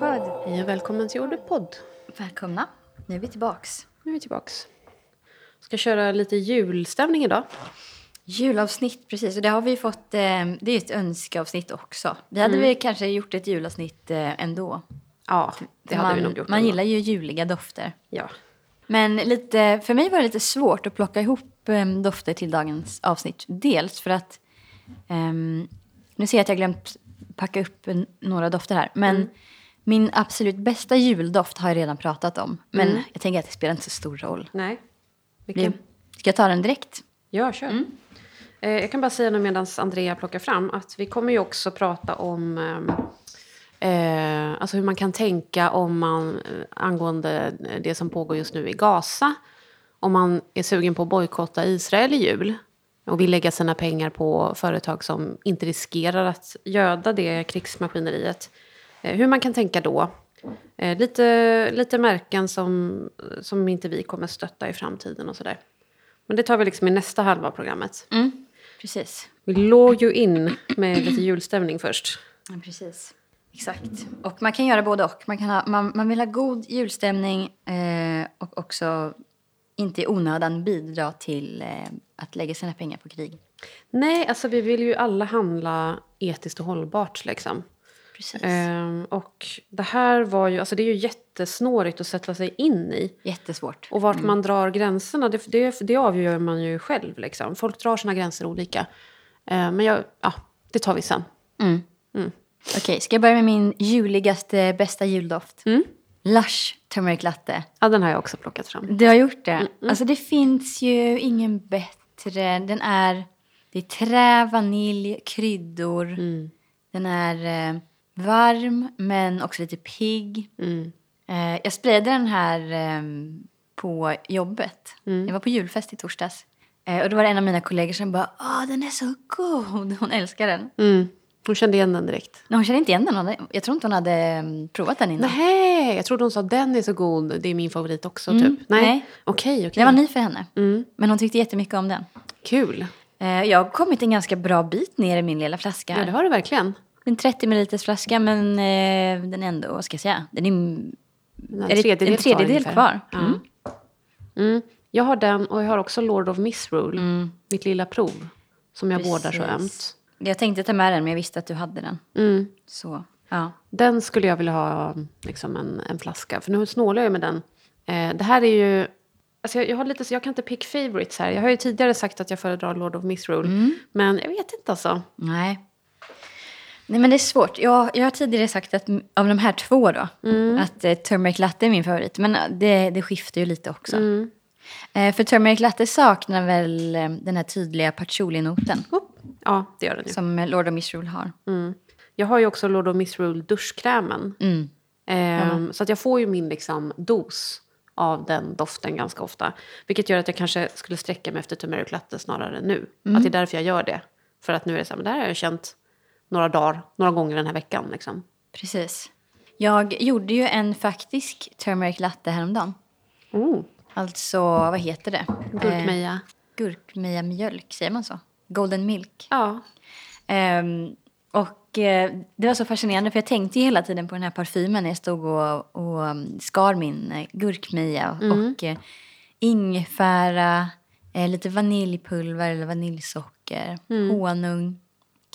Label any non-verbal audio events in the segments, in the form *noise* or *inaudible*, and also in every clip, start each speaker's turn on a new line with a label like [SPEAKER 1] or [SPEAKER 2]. [SPEAKER 1] Hej och välkommen till Orderpodd.
[SPEAKER 2] Välkomna. Nu är vi tillbaks.
[SPEAKER 1] Nu är vi tillbaks. Ska köra lite julstämning idag.
[SPEAKER 2] Julavsnitt, precis. Och det har vi fått. Eh, det är ett önskeavsnitt också. Det hade
[SPEAKER 1] Mm.
[SPEAKER 2] vi kanske gjort ett julavsnitt eh, ändå.
[SPEAKER 1] Ja, det hade
[SPEAKER 2] man,
[SPEAKER 1] vi nog gjort.
[SPEAKER 2] Man
[SPEAKER 1] ändå.
[SPEAKER 2] gillar ju juliga dofter.
[SPEAKER 1] Ja.
[SPEAKER 2] Men lite, för mig var det lite svårt att plocka ihop eh, dofter till dagens avsnitt. Dels för att... ehm, nu ser jag att jag glömt packa upp en, några dofter här. Men
[SPEAKER 1] Mm.
[SPEAKER 2] min absolut bästa juldoft har jag redan pratat om. Men jag tänker att det spelar inte så stor roll.
[SPEAKER 1] Nej. Mm. Vilken?
[SPEAKER 2] Vi, Mm. ska jag ta den direkt?
[SPEAKER 1] Ja, kör. Eh, jag kan bara säga nu medan Andrea plockar fram att vi kommer ju också prata om eh, eh, alltså hur man kan tänka om man, eh, angående det som pågår just nu i Gaza. Om man är sugen på att bojkotta Israel i jul och vill lägga sina pengar på företag som inte riskerar att göda det krigsmaskineriet. Eh, hur man kan tänka då. Eh, lite, lite märken som, som inte vi kommer stötta i framtiden och sådär. Men det tar vi liksom i nästa halva av programmet.
[SPEAKER 2] Mm. Precis.
[SPEAKER 1] Vi låg ju in med lite julstämning först.
[SPEAKER 2] Ja, precis. Exakt. Och man kan göra både och. Man, kan ha, man, man vill ha god julstämning eh, och också inte i onödan bidra till eh, att lägga sina pengar på krig.
[SPEAKER 1] Nej, alltså vi vill ju alla handla etiskt och hållbart liksom.
[SPEAKER 2] Precis.
[SPEAKER 1] Ehm, och det här var ju, alltså det är ju jättesnårigt att sätta sig in i.
[SPEAKER 2] Jättesvårt.
[SPEAKER 1] Och vart man drar gränserna, det, det, det avgör man ju själv liksom. Folk drar sina gränser olika. Ehm, men jag, ja, det tar vi sen.
[SPEAKER 2] Mm. Okej, ska jag börja med min juligaste, bästa juldoft?
[SPEAKER 1] Mm.
[SPEAKER 2] Lush Turmeric Latte.
[SPEAKER 1] Ja, den har jag också plockat fram.
[SPEAKER 2] Du har gjort det?
[SPEAKER 1] Mm,
[SPEAKER 2] Alltså det finns ju ingen bättre. Den är... Det är trä, vanilj, kryddor.
[SPEAKER 1] Mm.
[SPEAKER 2] Den är eh, varm men också lite pigg.
[SPEAKER 1] Mm.
[SPEAKER 2] Eh, jag sprayade den här eh, på jobbet.
[SPEAKER 1] Mm.
[SPEAKER 2] Jag var på julfest i torsdags. Eh, och då var det en av mina kollegor som bara Åh, den är så god! *laughs* Hon älskar den.
[SPEAKER 1] Mm. Hon kände igen den direkt.
[SPEAKER 2] Men hon kände inte igen den. Hon hade- Jag tror inte hon hade mm, provat den innan.
[SPEAKER 1] Nej, jag trodde hon sa den är så god, det är min favorit också typ. Nej,
[SPEAKER 2] Mm. nej.
[SPEAKER 1] okej, okej.
[SPEAKER 2] Den var ny för henne.
[SPEAKER 1] Mm.
[SPEAKER 2] Men hon tyckte jättemycket om den.
[SPEAKER 1] Kul.
[SPEAKER 2] Eh, Jag har kommit en ganska bra bit ner i min lilla flaska.
[SPEAKER 1] Ja, det har du verkligen.
[SPEAKER 2] En 30 ml flaska, men eh, den är ändå, vad ska jag säga, den är,
[SPEAKER 1] Den har
[SPEAKER 2] är det en tredjedel
[SPEAKER 1] ungefär.
[SPEAKER 2] kvar.
[SPEAKER 1] Ja.
[SPEAKER 2] Mm.
[SPEAKER 1] Mm. Jag har den och jag har också Lord of Misrule, mitt lilla prov, som jag vårdar så
[SPEAKER 2] Precis.
[SPEAKER 1] ömt.
[SPEAKER 2] Jag tänkte ta med den, men jag visste att du hade den.
[SPEAKER 1] Mm.
[SPEAKER 2] Så, ja.
[SPEAKER 1] Den skulle jag vilja ha liksom en, en flaska, för nu snålar jag med den. Eh, det här är ju... Alltså jag, jag, har lite, så jag kan inte pick favorites här. Jag har ju tidigare sagt att jag föredrar Lord of Misrule,
[SPEAKER 2] Mm.
[SPEAKER 1] men jag vet inte alltså.
[SPEAKER 2] Nej. Nej, men det är svårt. Jag, jag har tidigare sagt att m- av de här två då, att eh, turmeric latte är min favorit. Men eh, det, det skiftar ju lite också. Eh, för turmeric latte saknar väl eh, den här tydliga patchouli-noten
[SPEAKER 1] Ja, det gör den ju.
[SPEAKER 2] som eh, Lord of Misrule har.
[SPEAKER 1] Mm. Jag har ju också Lord of Misrule duschkrämen.
[SPEAKER 2] Mm.
[SPEAKER 1] Ehm, Så att jag får ju min liksom, dos av den doften ganska ofta. Vilket gör att jag kanske skulle sträcka mig efter turmeric latte snarare nu. Att det är därför jag gör det. För att nu är det så här, men det här har jag känt några dagar, några gånger den här veckan. Liksom.
[SPEAKER 2] Precis. Jag gjorde ju en faktisk turmeric latte häromdagen.
[SPEAKER 1] Oh,
[SPEAKER 2] Alltså, vad heter det? Eh,
[SPEAKER 1] gurkmeja.
[SPEAKER 2] gurkmeja mjölk, säger man så? Golden milk.
[SPEAKER 1] Ja.
[SPEAKER 2] Ehm, och eh, det var så fascinerande för jag tänkte ju hela tiden på den här parfymen när jag stod och, och um, skar min eh, gurkmeja
[SPEAKER 1] Mm.
[SPEAKER 2] och eh, ingefära, eh, lite vaniljpulver eller vaniljsocker, honung,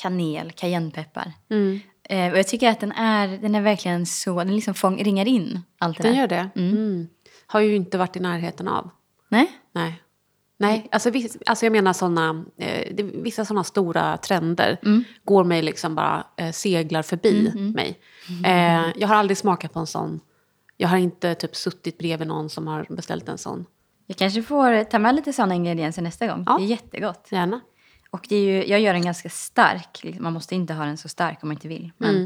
[SPEAKER 2] kanel, cayennepeppar.
[SPEAKER 1] Mm.
[SPEAKER 2] Eh, och jag tycker att den är, den är verkligen så, den liksom fång, ringar in allt det
[SPEAKER 1] Den
[SPEAKER 2] där.
[SPEAKER 1] gör det. Mm. Har ju inte varit i närheten av.
[SPEAKER 2] Nej?
[SPEAKER 1] Nej. Nej, alltså, viss, alltså jag menar såna, eh, det, vissa sådana stora trender går mig liksom bara eh, seglar förbi mig. Eh, jag har aldrig smakat på en sån. Jag har inte typ suttit bredvid någon som har beställt en sån.
[SPEAKER 2] Jag kanske får ta med lite sådana ingredienser nästa gång.
[SPEAKER 1] Ja.
[SPEAKER 2] Det är jättegott.
[SPEAKER 1] Gärna.
[SPEAKER 2] Och det är ju, jag gör den ganska stark. liksom. Man måste inte ha den så stark om man inte vill. Men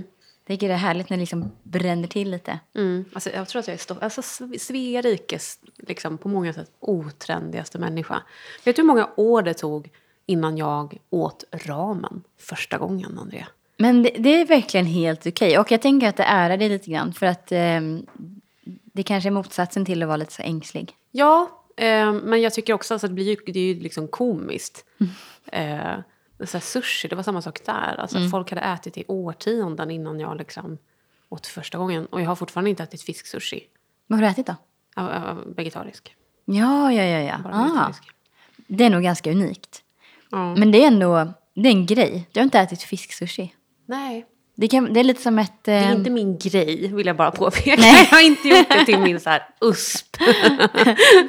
[SPEAKER 2] jag tycker det är härligt när det liksom bränner till lite.
[SPEAKER 1] Mm. Alltså, jag tror att jag är stoff, alltså, Sve- Svea rikes liksom, på många sätt otrendigaste människa. Vet du hur många år det tog innan jag åt ramen första gången, Andrea?
[SPEAKER 2] Men det, det är verkligen helt okej. Och jag tänker att det ärar dig lite grann. För att ehm, det kanske är motsatsen till att vara lite så ängslig.
[SPEAKER 1] Ja, eh, men jag tycker också alltså, att det, blir ju, det är ju liksom komiskt. Eh,
[SPEAKER 2] Mm.
[SPEAKER 1] så här sushi, det var samma sak där. Alltså, Folk hade ätit i årtionden innan jag liksom åt första gången. Och jag har fortfarande inte ätit fisksushi.
[SPEAKER 2] Vad har du ätit då?
[SPEAKER 1] Jag var- jag var Vegetarisk.
[SPEAKER 2] Ja, ja, ja. ja.
[SPEAKER 1] Bara
[SPEAKER 2] Ah,
[SPEAKER 1] vegetarisk.
[SPEAKER 2] det är nog ganska unikt.
[SPEAKER 1] Ja.
[SPEAKER 2] Men det är ändå det är en grej. Jag har inte ätit fisksushi.
[SPEAKER 1] Nej,
[SPEAKER 2] Det, kan, det är lite som ett...
[SPEAKER 1] det är
[SPEAKER 2] eh,
[SPEAKER 1] inte min grej vill jag bara påpeka.
[SPEAKER 2] Nej.
[SPEAKER 1] *laughs* Jag har inte gjort det till min så här
[SPEAKER 2] *laughs*
[SPEAKER 1] USP.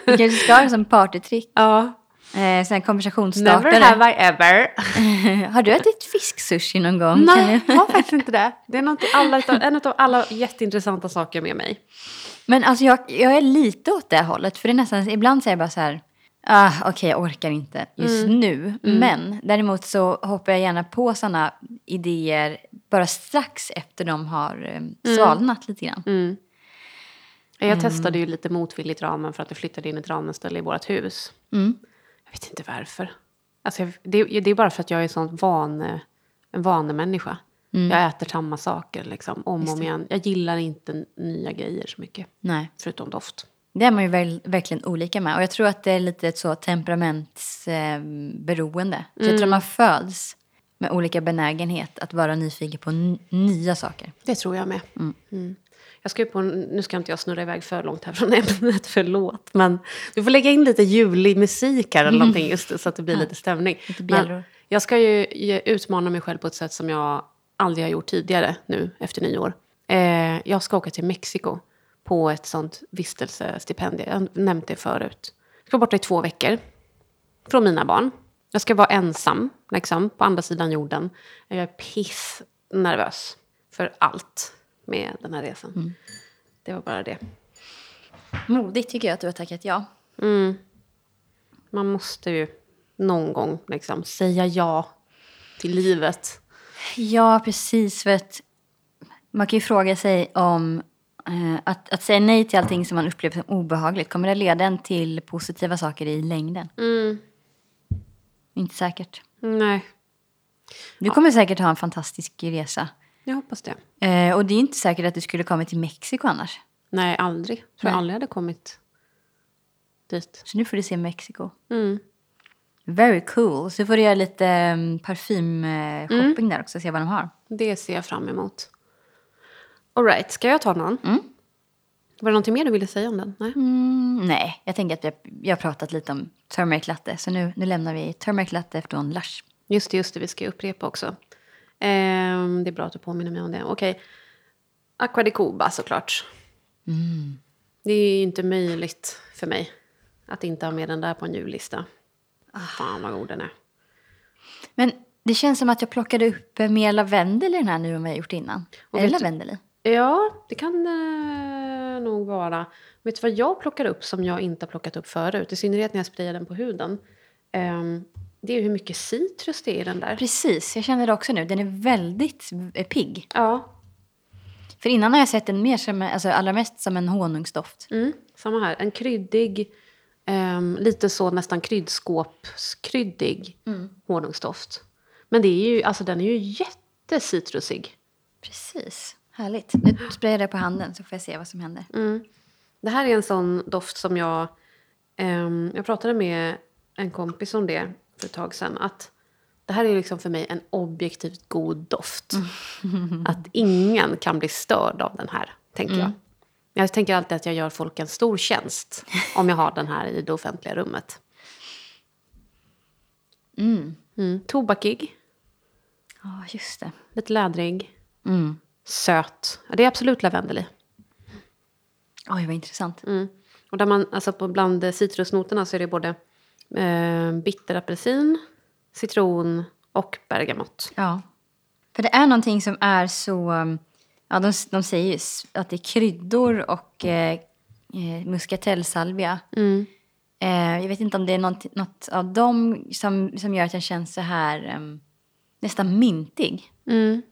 [SPEAKER 2] Du kanske ska ha det som partytrick.
[SPEAKER 1] Ja.
[SPEAKER 2] Eh, sån här konversationsstartare.
[SPEAKER 1] Never have I ever.
[SPEAKER 2] *laughs* har du ätit fisksushi någon gång?
[SPEAKER 1] Nej, jag har faktiskt inte det. Det är något, alla, utav- en av alla jätteintressanta saker med mig.
[SPEAKER 2] Men alltså jag, jag är lite åt det hållet. För det är nästan, ibland säger jag bara så här. Ah, Okej, jag orkar inte just nu. Men däremot så hoppar jag gärna på sådana idéer bara strax efter de har eh, svalnat lite grann.
[SPEAKER 1] Mm. Jag testade ju lite motvilligt ramen för att jag flyttade in ett ramenställe i vårt hus.
[SPEAKER 2] Mm.
[SPEAKER 1] Jag vet inte varför. Alltså jag, det, det är bara för att jag är sån van, en vanemänniska. Jag äter samma saker liksom, om och om igen. Jag gillar inte nya grejer så mycket,
[SPEAKER 2] Nej,
[SPEAKER 1] förutom doft.
[SPEAKER 2] det är man ju väl, verkligen olika med. Och jag tror att det är lite ett så temperamentsberoende. Eh, beroende. Så jag tror man föds med olika benägenhet att vara nyfiken på n- nya saker.
[SPEAKER 1] Det tror jag med. Mm. Jag ska ju på, en- nu ska inte jag snurra iväg för långt här från *laughs* ämnet, förlåt. Men du får lägga in lite julig musik här eller någonting just det, så att det blir lite stämning.
[SPEAKER 2] Mm. Lite bjällror.
[SPEAKER 1] men jag ska ju ge- utmana mig själv på ett sätt som jag aldrig har gjort tidigare nu efter nyår. Eh, jag ska åka till Mexiko på ett sånt vistelsestipendium. Jag har nämnt det förut. Jag ska vara borta i två veckor från mina barn. Jag ska vara ensam, liksom, på andra sidan jorden. Jag är pissnervös för allt med den här resan. Det var bara det.
[SPEAKER 2] Modigt tycker jag att du har tackat ja.
[SPEAKER 1] Man måste ju någon gång liksom, säga ja till livet.
[SPEAKER 2] Ja, precis. För att man kan ju fråga sig om eh, att, att säga nej till allting som man upplever som obehagligt, kommer det leda en till positiva saker i längden?
[SPEAKER 1] Mm.
[SPEAKER 2] Inte säkert.
[SPEAKER 1] Nej,
[SPEAKER 2] Du kommer säkert ha en fantastisk resa.
[SPEAKER 1] jag hoppas det.
[SPEAKER 2] Eh, och det är inte säkert att du skulle komma till Mexiko annars.
[SPEAKER 1] Nej, aldrig. Tror
[SPEAKER 2] Nej.
[SPEAKER 1] jag aldrig hade kommit dit.
[SPEAKER 2] Så nu får du se Mexiko.
[SPEAKER 1] Mm.
[SPEAKER 2] Very cool. Så får du göra lite um, parfymshopping där också, se vad de har.
[SPEAKER 1] Det ser jag fram emot. All right, ska jag ta någon? Var det någonting mer du ville säga om den? Nej.
[SPEAKER 2] Mm, nej, jag tänker att vi, jag har pratat lite om turmeric latte. Så nu, nu lämnar vi turmeric latte från Lush.
[SPEAKER 1] Just det, just det. Vi ska ju upprepa också. Ehm, det är bra att du påminner mig om det. Okej. Aqua di Cuba såklart. Det är ju inte möjligt för mig att inte ha med den där på en jullista. Fan vad god den är.
[SPEAKER 2] Men det känns som att jag plockade upp eh, mer lavendel i den här nu än vad jag gjort innan.
[SPEAKER 1] Och
[SPEAKER 2] är det
[SPEAKER 1] vet du-
[SPEAKER 2] lavendel i?
[SPEAKER 1] Ja, det kan eh, nog vara. Vet du vad jag plockar upp som jag inte har plockat upp förut? I synnerhet när jag sprayar den på huden. Ehm, det är ju hur mycket citrus det är i den där.
[SPEAKER 2] Precis, jag känner det också nu. Den är väldigt eh, pigg.
[SPEAKER 1] Ja,
[SPEAKER 2] För innan har jag sett den mer som, alltså allra mest som en honungsdoft.
[SPEAKER 1] Mm, samma här. En kryddig, ehm, lite så nästan kryddskåpskryddig honungsdoft. Men det är ju, alltså den är ju jättecitrusig.
[SPEAKER 2] Precis, härligt. Nu sprayar jag det på handen så får jag se vad som händer.
[SPEAKER 1] Det här är en sån doft som jag... ehm, jag pratade med en kompis om det för ett tag sedan. Att det här är liksom för mig en objektivt god doft. Att ingen kan bli störd av den här, tänker jag. Jag tänker alltid att jag gör folk en stor tjänst om jag har den här i det offentliga rummet. Mm, tobakig,
[SPEAKER 2] Ja, just det.
[SPEAKER 1] lite lädrig,
[SPEAKER 2] Mm.
[SPEAKER 1] söt. Ja, Det är absolut lavendel i.
[SPEAKER 2] Oj, vad intressant.
[SPEAKER 1] Mm. Och där man, alltså på, bland eh, citrusnoterna så är det både eh, bitterapelsin, citron och bergamott.
[SPEAKER 2] Ja. För det är någonting som är så... um, Ja, de, de säger ju s- att det är kryddor och eh, eh, muskatellsalvia.
[SPEAKER 1] Mm.
[SPEAKER 2] Eh, jag vet inte om det är något, något av dem som, som gör att jag känns så här em, nästan mintig.
[SPEAKER 1] Mm.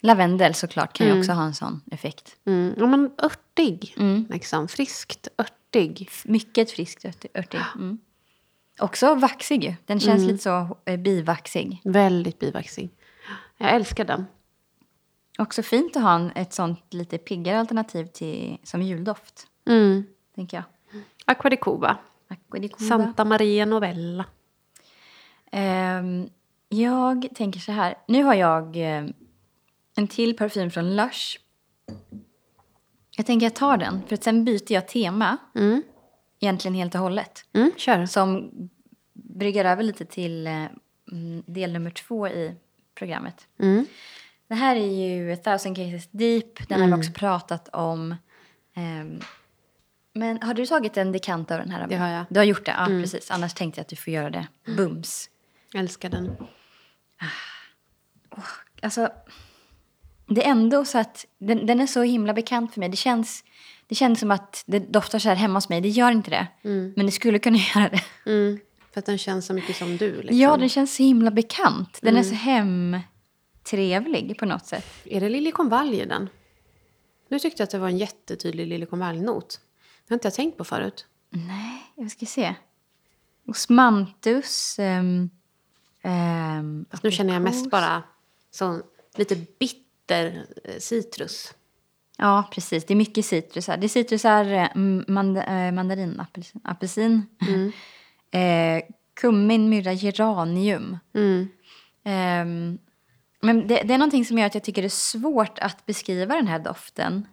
[SPEAKER 2] Lavendel såklart kan ju också ha en sån effekt.
[SPEAKER 1] Mm. Ja, men örtig.
[SPEAKER 2] Mm.
[SPEAKER 1] Liksom. Friskt örtig.
[SPEAKER 2] F- Mycket friskt örti- örtig. Mm. Också vaxig ju. Den känns lite så eh, bivaxig.
[SPEAKER 1] Väldigt bivaxig. Jag älskar den.
[SPEAKER 2] Också fint att ha en, ett sånt lite piggare alternativ till, som juldoft,
[SPEAKER 1] Mm.
[SPEAKER 2] tänker jag.
[SPEAKER 1] Aqua di Cuba.
[SPEAKER 2] Aqua di Cuba.
[SPEAKER 1] Santa Maria Novella.
[SPEAKER 2] Ehm, jag tänker så här. Nu har jag eh, en till parfym från Lush Jag tänker jag tar den, för att sen byter jag tema
[SPEAKER 1] Mm.
[SPEAKER 2] egentligen helt och hållet.
[SPEAKER 1] Mm, kör.
[SPEAKER 2] Som brygger över lite till eh, mm, del nummer två i programmet.
[SPEAKER 1] Mm.
[SPEAKER 2] Det här är ju 1000 cases deep. Den har
[SPEAKER 1] Mm.
[SPEAKER 2] vi också pratat om. Ehm, men har du tagit en dekant av den här? Amanda?
[SPEAKER 1] Det har jag. Mm.
[SPEAKER 2] Du har gjort det? Ja, precis. Annars tänkte jag att du får göra det bums.
[SPEAKER 1] Jag älskar den.
[SPEAKER 2] Alltså, det är ändå så att den, den är så himla bekant för mig. Det känns, det känns som att det doftar så här hemma hos mig. Det gör inte det. Men det skulle kunna *laughs* göra det.
[SPEAKER 1] Mm. För att den känns så mycket som du. Liksom.
[SPEAKER 2] Ja, den känns så himla bekant.
[SPEAKER 1] Mm.
[SPEAKER 2] Den är så hemtrevlig på något sätt.
[SPEAKER 1] Är det liljekonvalj i den? Nu tyckte jag att det var en jättetydlig liljekonvaljnot. Det har inte jag tänkt på förut.
[SPEAKER 2] Nej, jag ska se. Osmanthus. ehm, ehm,
[SPEAKER 1] Nu känner jag mest
[SPEAKER 2] aprikos.
[SPEAKER 1] bara sån lite bitter eh, citrus.
[SPEAKER 2] Ja, precis. Det är mycket citrusar. Det är citrusar, eh, m- mand eh, mandarin, apelsin, apelsin.
[SPEAKER 1] Mm.
[SPEAKER 2] *laughs* eh, kummin, myrra, geranium.
[SPEAKER 1] Mm.
[SPEAKER 2] Ehm, men det, det är någonting som gör att jag tycker det är svårt att beskriva den här doften.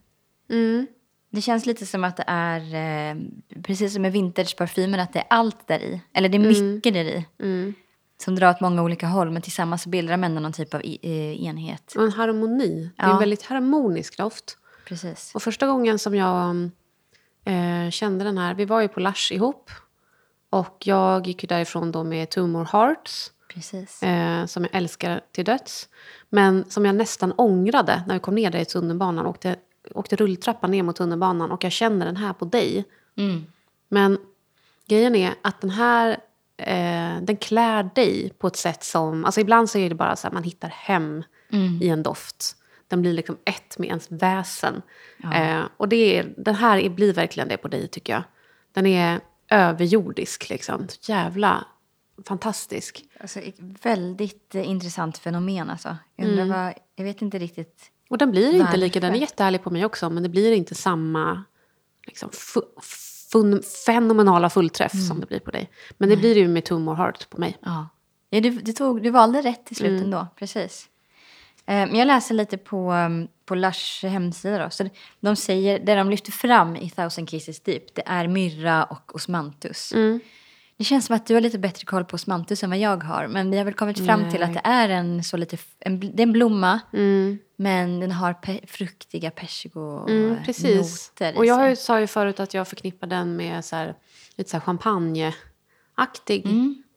[SPEAKER 1] Mm.
[SPEAKER 2] Det känns lite som att det är, eh, precis som med vintageparfymer, att det är allt där i. Eller det är mycket där i.
[SPEAKER 1] Mm.
[SPEAKER 2] Som drar åt många olika håll, men tillsammans så bildar de ändå någon typ av i, eh, enhet.
[SPEAKER 1] Och en harmoni. Det är
[SPEAKER 2] Ja.
[SPEAKER 1] en väldigt harmonisk doft.
[SPEAKER 2] Precis.
[SPEAKER 1] Och första gången som jag eh, kände den här, vi var ju på Lush ihop. Och jag gick ju därifrån då med Two More Hearts.
[SPEAKER 2] Precis.
[SPEAKER 1] eh, som jag älskar till döds. Men som jag nästan ångrade när jag kom ner där i tunnelbanan. Åkte, åkte rulltrappan ner mot tunnelbanan och jag känner den här på dig.
[SPEAKER 2] Mm.
[SPEAKER 1] Men grejen är att den här eh, den klär dig på ett sätt som... Alltså ibland så är det bara så att man hittar hem
[SPEAKER 2] Mm.
[SPEAKER 1] i en doft. Den blir liksom ett med ens väsen.
[SPEAKER 2] Ja.
[SPEAKER 1] Eh, och det är, den här är, blir verkligen det på dig, tycker jag. Den är överjordisk, liksom. Så Jävla fantastisk.
[SPEAKER 2] Alltså, ett väldigt eh, intressant fenomen. Alltså. Jag, undrar vad, jag vet inte riktigt.
[SPEAKER 1] Och den blir inte
[SPEAKER 2] Varför?
[SPEAKER 1] lika, den är jättehärlig på mig också, men det blir inte samma liksom, fu- fun- fenomenala fullträff som det blir på dig. Men det blir det ju med Two More Heart på mig.
[SPEAKER 2] Ja. Ja, du, du, tog, du valde rätt till slut
[SPEAKER 1] Mm.
[SPEAKER 2] ändå. Precis. Eh, Men jag läser lite på, um, på Lush hemsida. Då. Så det- de säger, det de lyfter fram i Thousand Kisses Deep det är myrra och osmanthus.
[SPEAKER 1] Mm.
[SPEAKER 2] Det känns som att du har lite bättre koll på osmanthus än vad jag har. Men vi har väl kommit fram till att det är en, så lite, f- en, bl- det är en blomma.
[SPEAKER 1] Mm.
[SPEAKER 2] Men den har pe- fruktiga persikonoter
[SPEAKER 1] Mm, precis.
[SPEAKER 2] i
[SPEAKER 1] Och jag har
[SPEAKER 2] sig.
[SPEAKER 1] ju, sa ju förut att jag förknippar den med så här, lite så här champagneaktig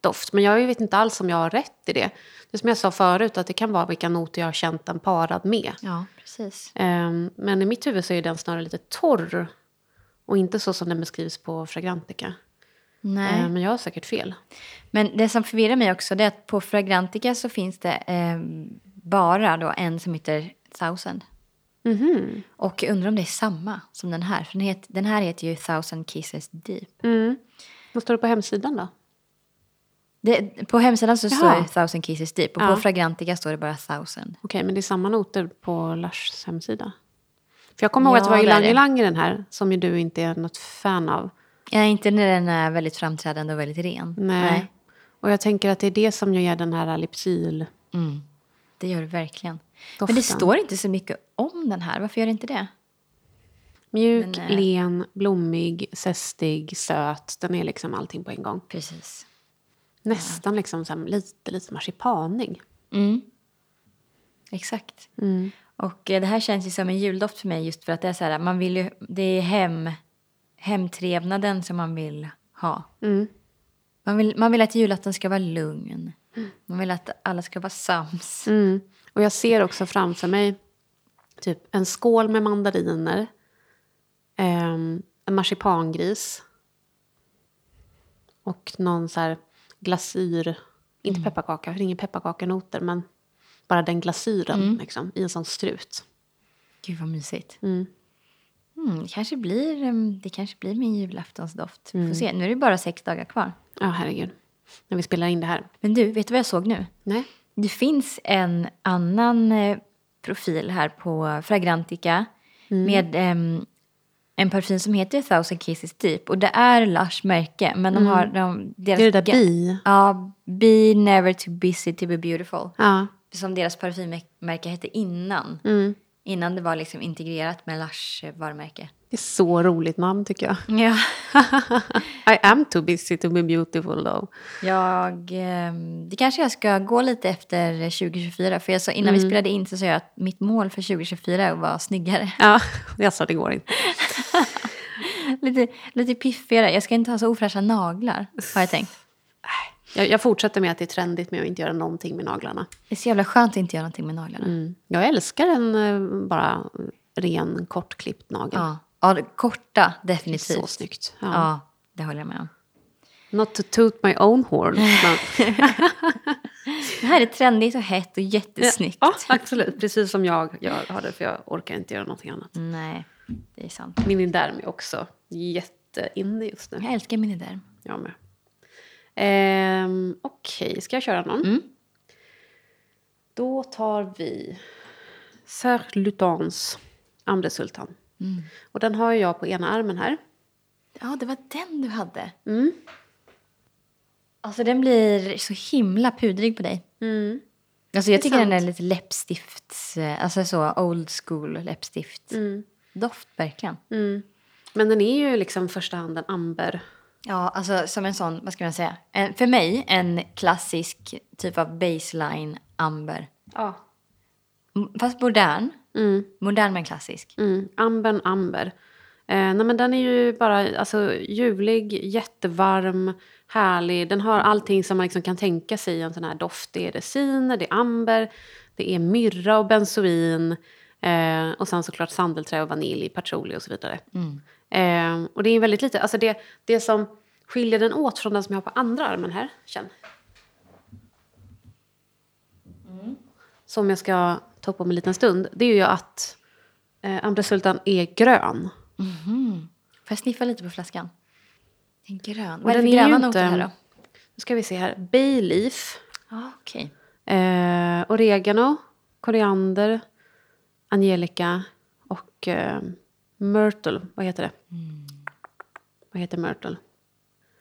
[SPEAKER 1] doft. Men jag vet inte alls om jag har rätt i det. Det är som jag sa förut, att det kan vara vilka noter jag har känt den parad med.
[SPEAKER 2] Ja, precis.
[SPEAKER 1] Ehm, men i mitt huvud så är den snarare lite torr och inte så som den beskrivs på Fragrantica.
[SPEAKER 2] Nej.
[SPEAKER 1] Eh, Men jag har säkert fel.
[SPEAKER 2] Men det som förvirrar mig också det är att på Fragrantica så finns det eh, bara då en som heter Thousand.
[SPEAKER 1] Mhm.
[SPEAKER 2] Och jag undrar om det är samma som den här. För den, het, den här heter ju Thousand Kisses Deep.
[SPEAKER 1] Mm. Vad står det på hemsidan då?
[SPEAKER 2] Det, på hemsidan så står
[SPEAKER 1] Jaha.
[SPEAKER 2] det Thousand Kisses Deep och
[SPEAKER 1] Ja.
[SPEAKER 2] på Fragrantica står det bara Thousand.
[SPEAKER 1] Okej, men det är samma noter på Lushs hemsida. För jag kommer ihåg
[SPEAKER 2] Ja,
[SPEAKER 1] att det var
[SPEAKER 2] det är
[SPEAKER 1] Ylang
[SPEAKER 2] det.
[SPEAKER 1] Ylang i den här, som ju du inte är något fan av.
[SPEAKER 2] Ja, inte när den är väldigt framträdande och väldigt ren.
[SPEAKER 1] Nej. Och jag tänker att det är det som ju ger den här lipsyl
[SPEAKER 2] Mm. Det gör det verkligen. Men det
[SPEAKER 1] Doften.
[SPEAKER 2] står inte så mycket om den här. Varför gör det inte det?
[SPEAKER 1] Mjuk,
[SPEAKER 2] Men, eh,
[SPEAKER 1] len, blommig, zestig, söt. Den är liksom allting på en gång.
[SPEAKER 2] Precis.
[SPEAKER 1] Nästan liksom så här, lite, lite marsipanig.
[SPEAKER 2] Mm. Exakt.
[SPEAKER 1] Mm.
[SPEAKER 2] Och eh, det här känns ju som en juldoft för mig just för att det är så här, man vill ju, det är hem, hemtrevnaden som man vill ha.
[SPEAKER 1] Mm.
[SPEAKER 2] Man vill, man vill att julafton ska vara lugn. Man vill att alla ska vara sams.
[SPEAKER 1] Mm. Och jag ser också framför mig typ en skål med mandariner, ehm, en marsipangris och någon så här glasyr, inte pepparkaka, för det är ingen pepparkakanoter, men bara den glasyren liksom, i en sån strut.
[SPEAKER 2] Gud vad mysigt.
[SPEAKER 1] Mm.
[SPEAKER 2] Mm, det, kanske blir, em, det kanske blir min julaftonsdoft.
[SPEAKER 1] Mm.
[SPEAKER 2] Får se, nu är det bara sex dagar kvar.
[SPEAKER 1] Ja, herregud. När vi spelar in det här.
[SPEAKER 2] Men du, vet du vad jag såg nu?
[SPEAKER 1] Nej.
[SPEAKER 2] Det finns en annan eh, profil här på Fragrantica
[SPEAKER 1] Mm.
[SPEAKER 2] med em, en parfym som heter Thousand Kisses Deep. Och det är Lush märke, men de har... De, deras
[SPEAKER 1] Mm. Det är det där bi.
[SPEAKER 2] Ja, Be Never Too Busy To Be Beautiful.
[SPEAKER 1] Ja.
[SPEAKER 2] Som deras parfymmärke hette innan.
[SPEAKER 1] Mm.
[SPEAKER 2] Innan det var liksom integrerat med Lars varumärke.
[SPEAKER 1] Det är så roligt namn tycker jag.
[SPEAKER 2] Ja.
[SPEAKER 1] I am too busy to be beautiful though.
[SPEAKER 2] *laughs* Jag, eh, det kanske jag ska gå lite efter 2024. För jag sa, innan vi
[SPEAKER 1] Mm.
[SPEAKER 2] spelade in så sa jag att mitt mål för 2024 är att vara snyggare.
[SPEAKER 1] Ja, *laughs* jag sa det går inte.
[SPEAKER 2] lite, lite piffigare. Jag ska inte ha så ofräscha naglar har jag tänkt.
[SPEAKER 1] Jag, jag fortsätter med att det är trendigt med att inte göra någonting med naglarna.
[SPEAKER 2] Det är så jävla skönt att inte göra någonting med naglarna.
[SPEAKER 1] Mm. Jag älskar en eh, bara ren kortklippt nagel.
[SPEAKER 2] Ja. ja, det- korta
[SPEAKER 1] det är
[SPEAKER 2] definitivt.
[SPEAKER 1] så snyggt. Ja.
[SPEAKER 2] ja. det håller jag med om.
[SPEAKER 1] Not to toot my own *laughs* horn. Men...
[SPEAKER 2] Det här är trendigt och hett och jättesnyggt.
[SPEAKER 1] Ja, absolut. Precis som jag gör har det, för jag orkar inte göra någonting annat.
[SPEAKER 2] Nej, det är sant.
[SPEAKER 1] Min inderm är också jätteinne just nu.
[SPEAKER 2] Jag älskar miniderm.
[SPEAKER 1] Jag med. Ehm, Okej, ska jag köra någon?
[SPEAKER 2] Mm.
[SPEAKER 1] Då tar vi Serge Lutans Amresultan.
[SPEAKER 2] Mm.
[SPEAKER 1] Och den har ju jag på ena armen här.
[SPEAKER 2] Ja, det var den du hade.
[SPEAKER 1] Mm.
[SPEAKER 2] Alltså den blir så himla pudrig på dig.
[SPEAKER 1] Mm.
[SPEAKER 2] Alltså jag
[SPEAKER 1] är
[SPEAKER 2] tycker
[SPEAKER 1] sant.
[SPEAKER 2] den är lite läppstifts... Alltså så old school läppstift.
[SPEAKER 1] Mm.
[SPEAKER 2] Doft verkligen.
[SPEAKER 1] Mm. Men den är ju liksom i första hand en amber.
[SPEAKER 2] Ja, alltså som en sån, vad ska man säga? En, för mig en klassisk typ av baseline amber.
[SPEAKER 1] Ja.
[SPEAKER 2] M- Fast modern.
[SPEAKER 1] Mm.
[SPEAKER 2] Modern men klassisk.
[SPEAKER 1] Mm, Amben Amber. Eh, nej men den är ju bara alltså, ljuvlig, jättevarm, härlig. Den har allting som man liksom kan tänka sig i en sån här doft. Det är resiner, det är amber, det är myrra och benzoin. Eh, och sen såklart sandelträ och vanilj, patchouli och så vidare.
[SPEAKER 2] Mm.
[SPEAKER 1] Eh, och det är väldigt lite, alltså det, det som skiljer den åt från den som jag har på andra armen här, känn. Som jag ska ta upp om en liten stund, det är ju att eh, Amresultan är grön.
[SPEAKER 2] Mhm. Får jag sniffa lite på flaskan? En grön.
[SPEAKER 1] Och
[SPEAKER 2] Vad är det
[SPEAKER 1] den
[SPEAKER 2] för
[SPEAKER 1] är ju
[SPEAKER 2] gröna
[SPEAKER 1] inte-
[SPEAKER 2] noter här då?
[SPEAKER 1] Nu ska vi se här, bay leaf,
[SPEAKER 2] Ja, okej.
[SPEAKER 1] eh, oregano, koriander, angelica och eh, myrtle, vad heter det? Vad heter myrtle?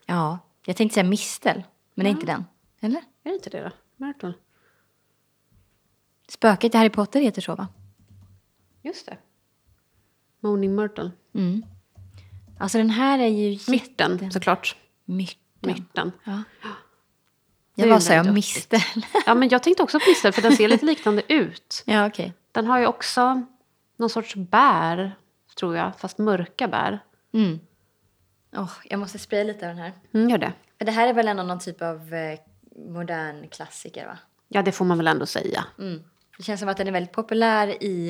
[SPEAKER 2] Ja, jag tänkte säga mistel. Men det är inte den. Eller?
[SPEAKER 1] Är det inte det då? Myrtle?
[SPEAKER 2] Spöket i Harry Potter heter så va?
[SPEAKER 1] Just det. Moaning myrtle.
[SPEAKER 2] Mm. Alltså den här är ju jätte-
[SPEAKER 1] Myrten, såklart.
[SPEAKER 2] Myrten.
[SPEAKER 1] Myrten. Det
[SPEAKER 2] Ja.
[SPEAKER 1] är
[SPEAKER 2] Jag
[SPEAKER 1] ju
[SPEAKER 2] bara sa jag
[SPEAKER 1] väldigt
[SPEAKER 2] mistel.
[SPEAKER 1] Ja, men jag tänkte också på mistel, för den ser lite liknande ut.
[SPEAKER 2] ja, okej.
[SPEAKER 1] Den har ju också någon sorts bär, tror jag, fast mörka bär.
[SPEAKER 2] *laughs* Mm. Åh, jag måste spraya lite av den här.
[SPEAKER 1] Mm, gör det.
[SPEAKER 2] För det här är väl ändå någon typ av eh, modern klassiker va?
[SPEAKER 1] Ja, det får man väl ändå säga.
[SPEAKER 2] Mm. Det känns som att den är väldigt populär i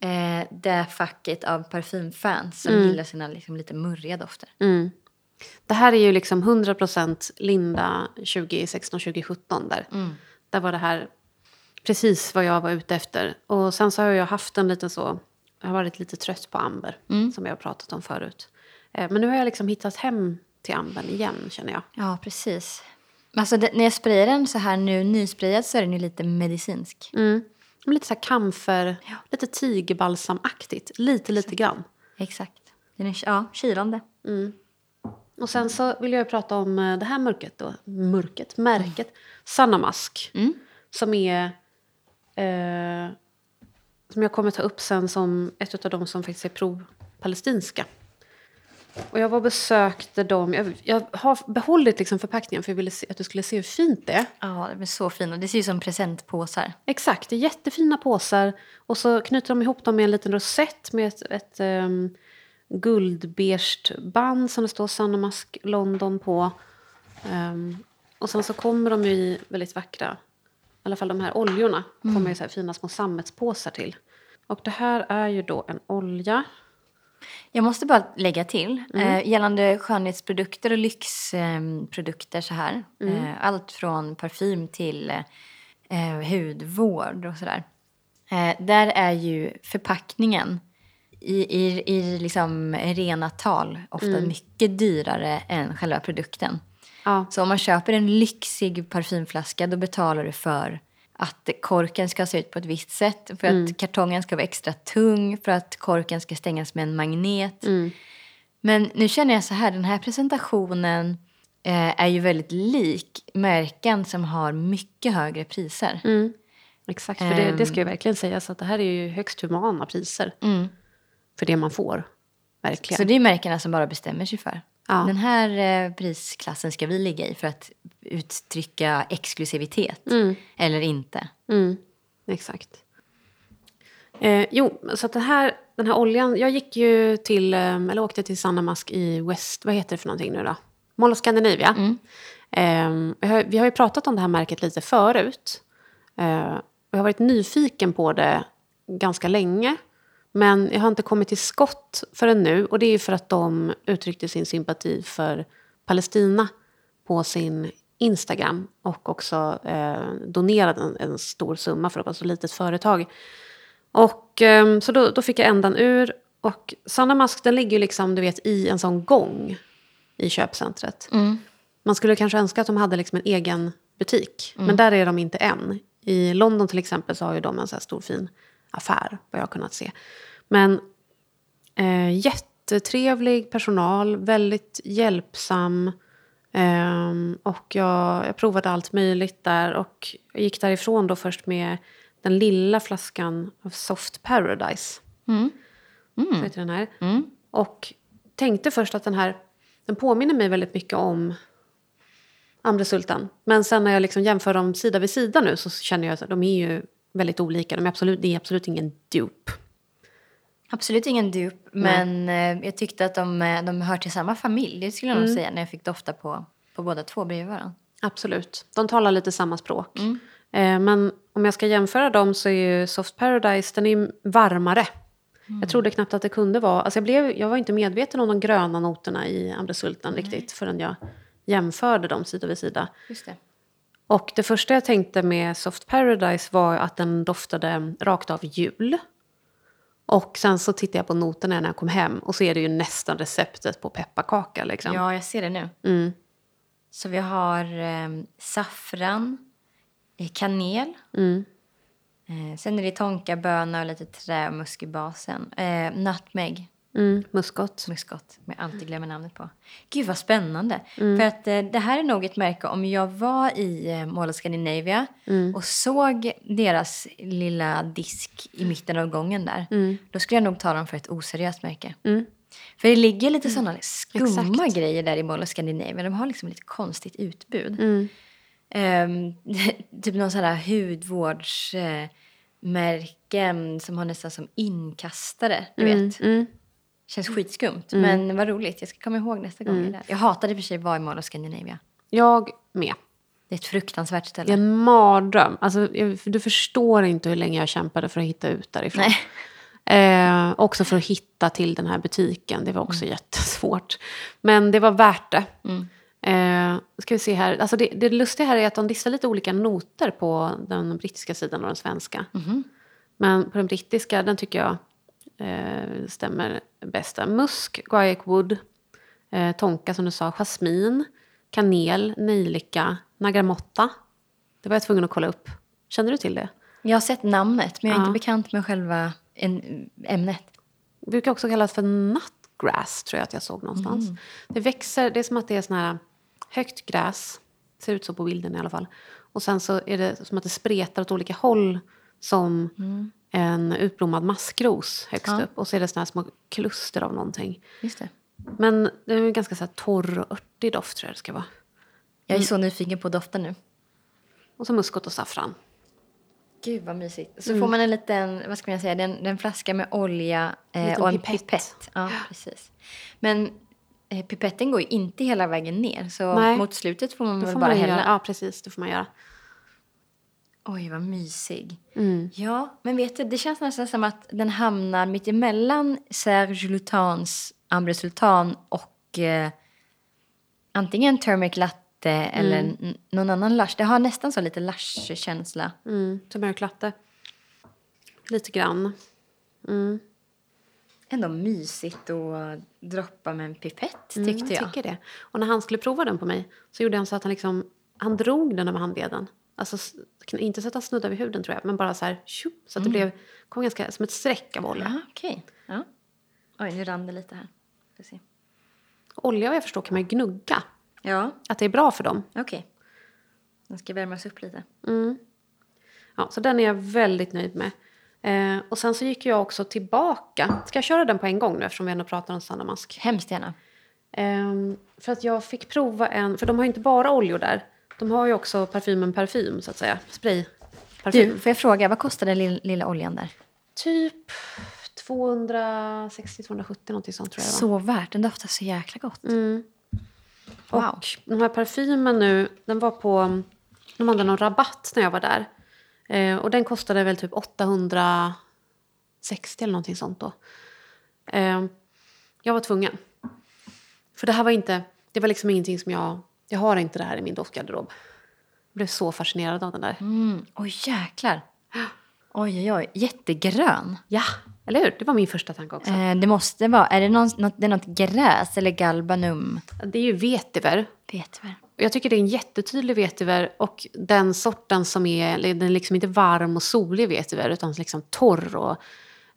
[SPEAKER 2] eh, det facket av parfymfans som gillar sina liksom, lite murriga dofter.
[SPEAKER 1] Mm. Det här är ju liksom 100% Linda 2016-2017 där. Där var det här precis vad jag var ute efter. Och sen så har jag haft en liten så, jag har varit lite trött på Amber som jag har pratat om förut. Eh, Men nu har jag liksom hittat hem till Amber igen känner jag.
[SPEAKER 2] Ja, precis. Alltså det, när jag sprayar den så här nu nysprayad så är den ju lite medicinsk.
[SPEAKER 1] Mm. Men Lite så här kamfer, lite tigerbalsamaktigt, lite lite grann.
[SPEAKER 2] Exakt. Den är ja, kylande.
[SPEAKER 1] Och sen så vill jag ju prata om eh, det här mörket då. Mörket, märket. Sanamask. Som är... Eh, som jag kommer ta upp sen som ett av de som faktiskt är pro-palestinska. Och jag var och besökte dem. Jag, jag har behållit liksom förpackningen för jag ville se, att du skulle se hur fint det är.
[SPEAKER 2] Ja, de är så fina. Det ser ju ut som presentpåsar.
[SPEAKER 1] Exakt, det är jättefina påsar. Och så knyter de ihop dem med en liten rosett med ett, ett um, guldbeige band som det står Sanamask London på. Ehm, och sen så kommer de ju i väldigt vackra, i alla fall de här oljorna,
[SPEAKER 2] Mm.
[SPEAKER 1] kommer ju så här fina små sammetspåsar till. Och det här är ju då en olja.
[SPEAKER 2] Jag måste bara lägga till, eh, gällande skönhetsprodukter och lyxprodukter så här. Eh, allt från parfym till eh, hudvård och sådär. Eh, där är ju förpackningen i, i, i liksom rena tal ofta mycket dyrare än själva produkten.
[SPEAKER 1] Ja,
[SPEAKER 2] Så om man köper en lyxig parfymflaska då betalar du för att korken ska se ut på ett visst sätt. För att kartongen ska vara extra tung. För att korken ska stängas med en magnet. Men nu känner jag så här, den här presentationen eh, är ju väldigt lik märken som har mycket högre priser.
[SPEAKER 1] Exakt, för det,
[SPEAKER 2] Ehm.
[SPEAKER 1] det ska ju verkligen sägas att det här är ju högst humana priser
[SPEAKER 2] Mm.
[SPEAKER 1] för det man får.
[SPEAKER 2] Så
[SPEAKER 1] Verkligen.
[SPEAKER 2] det är märkena som bara bestämmer sig för.
[SPEAKER 1] Ja.
[SPEAKER 2] Den här eh, prisklassen ska vi ligga i för att uttrycka exklusivitet. Eller inte.
[SPEAKER 1] Mm, exakt. Eh, jo, så att den här, den här oljan... Jag gick ju till, eh, eller åkte till Sandamask i West... Vad heter det för någonting nu då? Mall of Scandinavia. Eh, jag har- vi har ju pratat om det här märket lite förut. Eh, och jag har varit nyfiken på det ganska länge. Men jag har inte kommit till skott förrän nu. Och det är ju för att de uttryckte sin sympati för Palestina på sin Instagram. Och också eh, donerade en, en stor summa för att vara ett så litet företag. Och, ehm, så då, då fick jag ändan ur. Och Sanna Mask den ligger ju liksom, du vet, i en sån gång i köpcentret. Man skulle kanske önska att de hade liksom en egen butik. Men där är de inte än. I London till exempel så har ju de en så här stor fin affär, vad jag har kunnat se. Men eh, jättetrevlig personal, väldigt hjälpsam. Ehm, och jag, jag provade allt möjligt där. Och jag gick därifrån då först med den lilla flaskan av Soft Paradise. Så heter den här. Och tänkte först att den här den påminner mig väldigt mycket om Amre Sultan. Men sen när jag liksom jämför dem sida vid sida nu så känner jag att de är ju väldigt olika. De är absolut, det är absolut ingen dupe.
[SPEAKER 2] Absolut ingen dupe, men eh, jag tyckte att de, eh, de hör till samma familj. Det skulle jag nog säga när jag fick dofta på, på båda två bredvid varandra.
[SPEAKER 1] Absolut. De talar lite samma språk. Eh, men om jag ska jämföra dem så är ju Soft Paradise den är ju varmare. Jag trodde knappt att det kunde vara... Alltså jag, blev, jag var inte medveten om de gröna noterna i Amre Sultan riktigt förrän jag jämförde dem sida vid sida.
[SPEAKER 2] Just det.
[SPEAKER 1] Och det första jag tänkte med Soft Paradise var att den doftade rakt av jul. Och sen så tittade jag på noterna när jag kom hem och så är det ju nästan receptet på pepparkaka liksom.
[SPEAKER 2] Ja, jag ser det nu.
[SPEAKER 1] Mm.
[SPEAKER 2] Så vi har eh, saffran, eh, kanel.
[SPEAKER 1] Mm.
[SPEAKER 2] Eh, sen är det tonkaböna och lite trämusk i basen. Eh, nutmeg.
[SPEAKER 1] Mm. Muskot.
[SPEAKER 2] muskott som jag alltid glömmer namnet på. Gud vad spännande.
[SPEAKER 1] Mm.
[SPEAKER 2] För att eh, det här är nog ett märke om jag var i eh, Mall of Scandinavia
[SPEAKER 1] Mm.
[SPEAKER 2] och såg deras lilla disk i mitten av gången där. Då skulle jag nog ta dem för ett oseriöst märke.
[SPEAKER 1] Mm.
[SPEAKER 2] För det ligger lite sådana skumma
[SPEAKER 1] Exakt.
[SPEAKER 2] grejer där i Mall of Scandinavia. De har liksom lite konstigt utbud.
[SPEAKER 1] Mm.
[SPEAKER 2] Ehm, *laughs* typ någon sån här hudvårdsmärken som har nästan som inkastare, du
[SPEAKER 1] Mm.
[SPEAKER 2] vet.
[SPEAKER 1] Mm. Mm.
[SPEAKER 2] Känns skitskumt, men vad roligt. Jag ska komma ihåg nästa gång. jag är där. Jag hatade i och för sig att vara i Mall of Scandinavia.
[SPEAKER 1] Jag med.
[SPEAKER 2] Det är ett fruktansvärt
[SPEAKER 1] Det
[SPEAKER 2] ställe.
[SPEAKER 1] är en mardröm. Alltså, jag- du förstår inte hur länge jag kämpade för att hitta ut därifrån.
[SPEAKER 2] Nej.
[SPEAKER 1] Eh, också för att hitta till den här butiken. Det var också jättesvårt. Men det var värt det. Eh, ska vi se här. Alltså det, det lustiga här är att de listar lite olika noter på den brittiska sidan och den svenska.
[SPEAKER 2] Mhm.
[SPEAKER 1] Men på den brittiska, den tycker jag eh, stämmer bäst. Musk, guaiac wood, eh, tonka som du sa, jasmin, kanel, nejlika, nagramotta. Det var jag tvungen att kolla upp. Känner du till det?
[SPEAKER 2] Jag har sett namnet, men jag är
[SPEAKER 1] Ja.
[SPEAKER 2] inte bekant med själva en, ämnet.
[SPEAKER 1] Det brukar också kallas för nattgrass, tror jag att jag såg någonstans.
[SPEAKER 2] Mm.
[SPEAKER 1] Det växer, det är som att det är sån här högt gräs. Ser ut så på bilden i alla fall. Och sen så är det som att det spretar åt olika håll som en utblommad maskros högst
[SPEAKER 2] Mm. Ja.
[SPEAKER 1] upp. Och så är det såna här små kluster av någonting.
[SPEAKER 2] Just det.
[SPEAKER 1] Men det är en ganska så här torr och örtig doft tror jag det ska vara.
[SPEAKER 2] Jag
[SPEAKER 1] Mm.
[SPEAKER 2] är så nyfiken på doften nu.
[SPEAKER 1] Och så muskot och saffran.
[SPEAKER 2] Gud vad mysigt.
[SPEAKER 1] Mm.
[SPEAKER 2] Så får man en liten, vad ska man säga, den, den flaska med olja eh,
[SPEAKER 1] Liten
[SPEAKER 2] och en pipett.
[SPEAKER 1] pipett.
[SPEAKER 2] Ja, precis. Men eh, pipetten går ju inte hela vägen ner, så
[SPEAKER 1] Nej.
[SPEAKER 2] mot slutet får man
[SPEAKER 1] Det
[SPEAKER 2] väl
[SPEAKER 1] får
[SPEAKER 2] bara
[SPEAKER 1] man ju
[SPEAKER 2] hälla.
[SPEAKER 1] göra. Ja, precis. Det får man göra.
[SPEAKER 2] Oj, vad mysig.
[SPEAKER 1] Mm.
[SPEAKER 2] Ja, men vet du, det känns nästan som att den hamnar mitt emellan Serge Lutans Ambre Sultan och eh, antingen Turmeric Latte eller n- någon annan lush. Det har nästan så lite lush-känsla.
[SPEAKER 1] Mm. Tumörklatte. Lite grann.
[SPEAKER 2] Ändå mysigt att droppa med en pipett, tyckte
[SPEAKER 1] Mm,
[SPEAKER 2] jag.
[SPEAKER 1] tycker det. Och när han skulle prova den på mig så gjorde han så att han liksom, han drog den över handleden. Alltså s- kn- inte så att han snuddade vid huden tror jag, men bara så här tjup, så att
[SPEAKER 2] Mm.
[SPEAKER 1] det blev, kom ganska som ett streck av olja.
[SPEAKER 2] Ja, okej. Ja. Oj, nu rann det lite här. Får se.
[SPEAKER 1] Olja vad jag förstår kan man ju gnugga,
[SPEAKER 2] Ja,
[SPEAKER 1] att det är bra för dem. Mm.
[SPEAKER 2] okej. Den ska värmas upp lite.
[SPEAKER 1] Ja, så den är jag väldigt nöjd med. Eh, och sen så gick jag också tillbaka. Ska jag köra den på en gång nu eftersom vi ändå pratar om Sanna Mask?
[SPEAKER 2] Hemskt gärna.
[SPEAKER 1] Ehm, för att jag fick prova en, för de har ju inte bara oljor där. De har ju också parfymen parfym så att säga. Spray. Parfym.
[SPEAKER 2] Du, får jag fråga, vad kostar den lill- lilla oljan där?
[SPEAKER 1] Typ 260-270 någonting sånt tror jag det var.
[SPEAKER 2] Så värt, den doftar så jäkla gott.
[SPEAKER 1] Mm.
[SPEAKER 2] Wow.
[SPEAKER 1] Och den här parfymen nu, den var på... De hade någon rabatt när jag var där. Eh, och den kostade väl typ 860 eller någonting sånt då. Eh, jag var tvungen. För det här var inte... Det var liksom ingenting som jag... Jag har inte det här i min doftgarderob. Jag blev så fascinerad av den där.
[SPEAKER 2] Mm. Oj, jäklar. Oj, oj, oj. Jättegrön.
[SPEAKER 1] Ja, eller hur? Det var min första tanke också.
[SPEAKER 2] Eh, det måste vara, är det, någon, något, det är något gräs eller galbanum?
[SPEAKER 1] Det är ju vetiver.
[SPEAKER 2] Vetiver.
[SPEAKER 1] Jag tycker det är en jättetydlig vetiver och den sorten som är, den är liksom inte varm och solig vetiver utan liksom torr och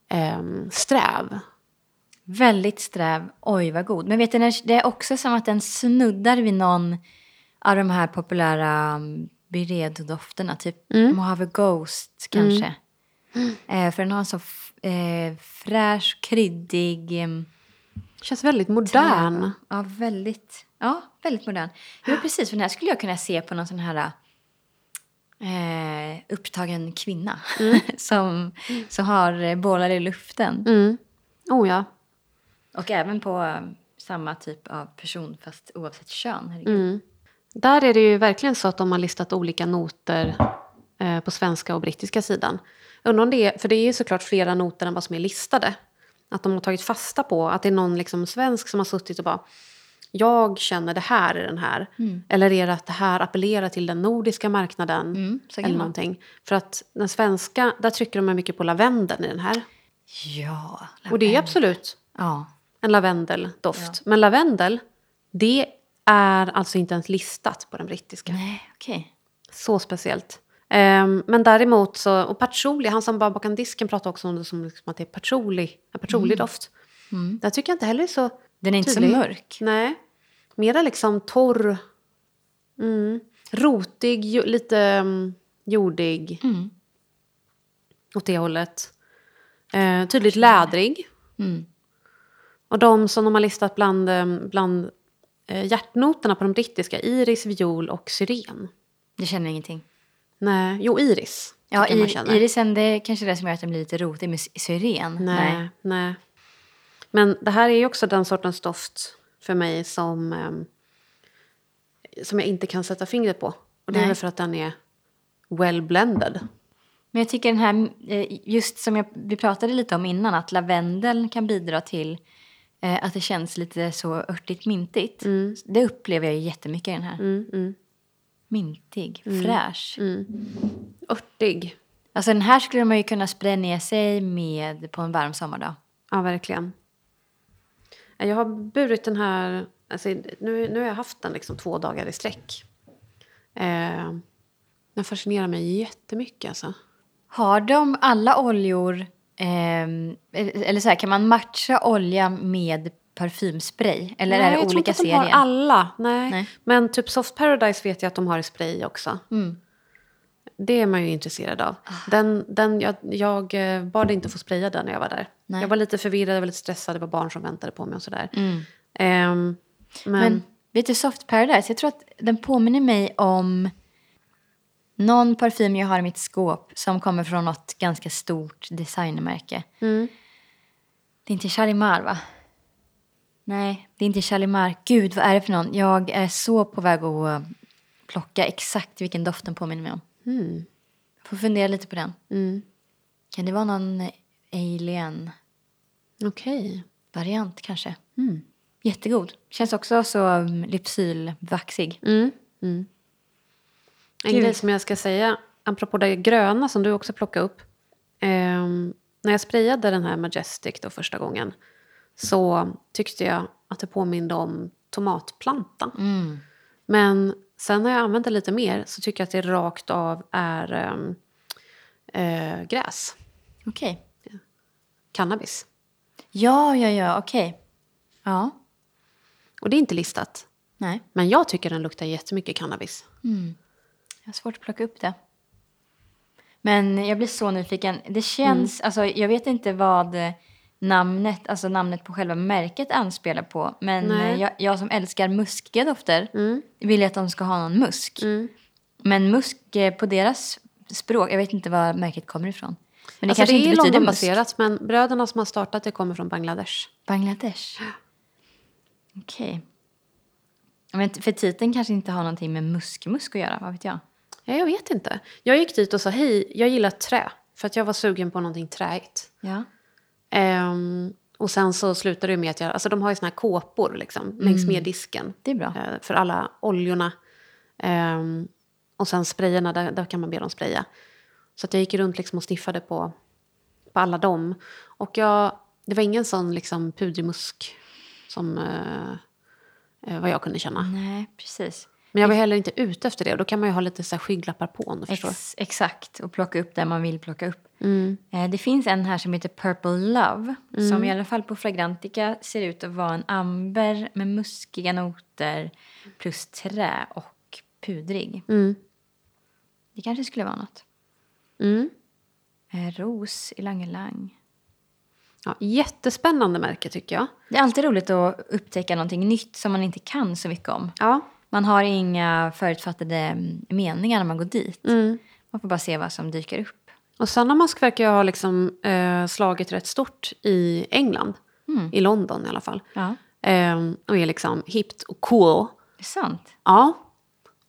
[SPEAKER 1] ehm, sträv.
[SPEAKER 2] Väldigt sträv. Oj, vad god. Men vet du, när- det är också som att den snuddar vid någon av de här populära mm, Byredo-dofterna. Typ Mojave Ghost, kanske. Eh, för den har en så f- eh, fräsch, kryddig... mm, em,
[SPEAKER 1] Känns väldigt modern.
[SPEAKER 2] Ja, väldigt, ja, väldigt modern. Jo, precis. För den här skulle jag kunna se på någon sån här eh, upptagen kvinna *laughs* som, som har eh, bollar i luften.
[SPEAKER 1] Mm. Oh ja.
[SPEAKER 2] Och även på eh, samma typ av person, fast oavsett kön. herregud.
[SPEAKER 1] Mm. Där är det ju verkligen så att de har listat olika noter eh, på svenska och brittiska sidan. Undrar om det är, för det är ju såklart flera noter än vad som är listade. Att de har tagit fasta på att det är någon liksom svensk som har suttit och bara jag känner det här i den här. Eller är det att det här appellerar till den nordiska marknaden?
[SPEAKER 2] Mm, så kan
[SPEAKER 1] eller
[SPEAKER 2] man.
[SPEAKER 1] någonting. För att den svenska, där trycker de mycket på lavendeln i den här.
[SPEAKER 2] Ja.
[SPEAKER 1] Och det är ju
[SPEAKER 2] lavendel.
[SPEAKER 1] absolut
[SPEAKER 2] Ja.
[SPEAKER 1] en lavendeldoft. Men lavendel, det är alltså inte ens listat på den brittiska.
[SPEAKER 2] Nej, okej.
[SPEAKER 1] Så speciellt. Ehm, men däremot så, och patchouli, han som bara bakom disken pratade också om det som liksom att det är patchouli, en patchouli-doft.
[SPEAKER 2] Mm.
[SPEAKER 1] Där tycker jag inte heller är så,
[SPEAKER 2] Den är inte
[SPEAKER 1] Tydlig.
[SPEAKER 2] så mörk.
[SPEAKER 1] nej. Mera liksom torr, mm, rotig, ju- lite mm, jordig
[SPEAKER 2] Mm.
[SPEAKER 1] åt det hållet. Eh, tydligt lädrig.
[SPEAKER 2] Mm.
[SPEAKER 1] Och de som de har listat bland, eh, bland eh, hjärtnoterna på de brittiska, iris, viol och syren.
[SPEAKER 2] Jag känner ingenting.
[SPEAKER 1] Nej, jo iris.
[SPEAKER 2] Ja,
[SPEAKER 1] tycker jag man
[SPEAKER 2] ir-
[SPEAKER 1] känner.
[SPEAKER 2] irisen, det är kanske det som gör att den blir lite rotig med sy- syren.
[SPEAKER 1] Nej, nej. Men det här är ju också den sortens doft för mig som, ehm, som jag inte kan sätta fingret på. Och det är
[SPEAKER 2] Nej.
[SPEAKER 1] väl för att den är well blended.
[SPEAKER 2] Men jag tycker den här, eh, just som jag, vi pratade lite om innan, att lavendeln kan bidra till eh, att det känns lite så örtigt mintigt. Det upplever jag ju jättemycket i den här.
[SPEAKER 1] Mm, mm,
[SPEAKER 2] Mintig, fräsch.
[SPEAKER 1] mm. Örtig.
[SPEAKER 2] Alltså den här skulle man ju kunna spraya ner sig med på en varm sommardag.
[SPEAKER 1] Ja, verkligen. Eh, Jag har burit den här... Alltså, nu, nu har jag haft den liksom två dagar i sträck. Eh, den fascinerar mig jättemycket. Alltså.
[SPEAKER 2] Har de alla oljor, ehm, eller eller så här, kan man matcha olja med parfymspray? Eller är det
[SPEAKER 1] jag tror inte
[SPEAKER 2] olika
[SPEAKER 1] att de har
[SPEAKER 2] serier?
[SPEAKER 1] alla. Nej.
[SPEAKER 2] Nej.
[SPEAKER 1] Men typ Soft Paradise vet jag att de har i spray också.
[SPEAKER 2] Mm. Ah.
[SPEAKER 1] Det är man ju intresserad av. Den, den, jag, jag eh, bad inte få spraya den när jag var där.
[SPEAKER 2] Nej.
[SPEAKER 1] Jag var lite förvirrad, jag var lite stressad, det var barn som väntade på mig och sådär.
[SPEAKER 2] Mm.
[SPEAKER 1] Ehm, men,
[SPEAKER 2] Men vet du, Soft Paradise, jag tror att den påminner mig om någon parfym jag har i mitt skåp som kommer från något ganska stort designmärke.
[SPEAKER 1] mm,
[SPEAKER 2] Det är inte Chalimar, va? Nej, det är inte Chalimar. Gud, vad är det för någon? Jag är så på väg att eh, plocka exakt vilken doft den påminner mig om.
[SPEAKER 1] mm,
[SPEAKER 2] Får fundera lite på den.
[SPEAKER 1] mm.
[SPEAKER 2] Kan det vara någon alien-variant
[SPEAKER 1] okej.
[SPEAKER 2] kanske?
[SPEAKER 1] Mm.
[SPEAKER 2] Jättegod. Känns också så mm, lypsylvaxig.
[SPEAKER 1] Mm, mm. En
[SPEAKER 2] Kul.
[SPEAKER 1] grej som jag ska säga, apropå det gröna som du också plockade upp. Ehm, när jag sprayade den här Majestic då första gången så tyckte jag att det påminde om tomatplanta.
[SPEAKER 2] Mm.
[SPEAKER 1] Men sen när jag använt det lite mer så tycker jag att det rakt av är ehm, eh, gräs,
[SPEAKER 2] Okej.
[SPEAKER 1] cannabis.
[SPEAKER 2] Ja, ja, ja, okej. Ja,
[SPEAKER 1] Och det är inte listat.
[SPEAKER 2] nej.
[SPEAKER 1] Men jag tycker den luktar jättemycket cannabis.
[SPEAKER 2] Mm. Jag har svårt att plocka upp det. Men jag blir så nyfiken. Det
[SPEAKER 1] Mm.
[SPEAKER 2] känns, alltså jag vet inte vad eh, namnet, alltså namnet på själva märket anspelar på. Men
[SPEAKER 1] Nej.
[SPEAKER 2] eh, jag, jag som älskar muskiga dofter
[SPEAKER 1] Mm.
[SPEAKER 2] vill ju att de ska ha någon musk.
[SPEAKER 1] Mm.
[SPEAKER 2] Men musk eh, på deras språk, jag vet inte var märket kommer ifrån. Men det
[SPEAKER 1] Alltså,
[SPEAKER 2] kanske
[SPEAKER 1] det är
[SPEAKER 2] inte betyder musk.
[SPEAKER 1] Londonbaserat, men bröderna som har startat det kommer från Bangladesh.
[SPEAKER 2] Bangladesh. Okej. Men t- för titeln kanske inte har någonting med muskmusk att göra, vad vet jag?
[SPEAKER 1] Ja, jag vet inte. Jag gick dit och sa hej, jag gillar trä. För att jag var sugen på någonting träigt.
[SPEAKER 2] Ja.
[SPEAKER 1] Ehm, och sen så slutade det med att jag, alltså de har ju såna här kåpor liksom, längs med disken.
[SPEAKER 2] Det är bra.
[SPEAKER 1] eh, för alla oljorna. Ehm, och sen sprayerna, där, där kan man be dem spraya. Så att jag gick runt liksom och sniffade på, på alla dem. Och jag, det var ingen sån liksom pudrimusk som eh, eh, vad jag kunde känna.
[SPEAKER 2] Nej, precis.
[SPEAKER 1] Men jag var heller inte ute efter det. Och då kan man ju ha lite så här skygglappar på om du förstår.
[SPEAKER 2] Ex, exakt, och plocka upp det man vill plocka upp.
[SPEAKER 1] Mm.
[SPEAKER 2] Eh, Det finns en här som heter Purple Love som i alla fall på Fragrantica ser ut att vara en amber med muskiga noter plus trä och pudrig.
[SPEAKER 1] Mm.
[SPEAKER 2] Det kanske skulle vara något.
[SPEAKER 1] Mm.
[SPEAKER 2] Eh, Ros i Langelang.
[SPEAKER 1] Ja, jättespännande märke tycker jag.
[SPEAKER 2] Det är alltid roligt att upptäcka någonting nytt som man inte kan så mycket om.
[SPEAKER 1] Ja.
[SPEAKER 2] Man har inga förutfattade mm, meningar när man går dit.
[SPEAKER 1] Mm.
[SPEAKER 2] Man får bara se vad som dyker upp.
[SPEAKER 1] Och Sanna Mask verkar ju ha liksom, eh, slagit rätt stort i England.
[SPEAKER 2] Mm.
[SPEAKER 1] I London i alla fall.
[SPEAKER 2] Ja,
[SPEAKER 1] Ehm, och är liksom hippt och cool.
[SPEAKER 2] det är sant.
[SPEAKER 1] Ja.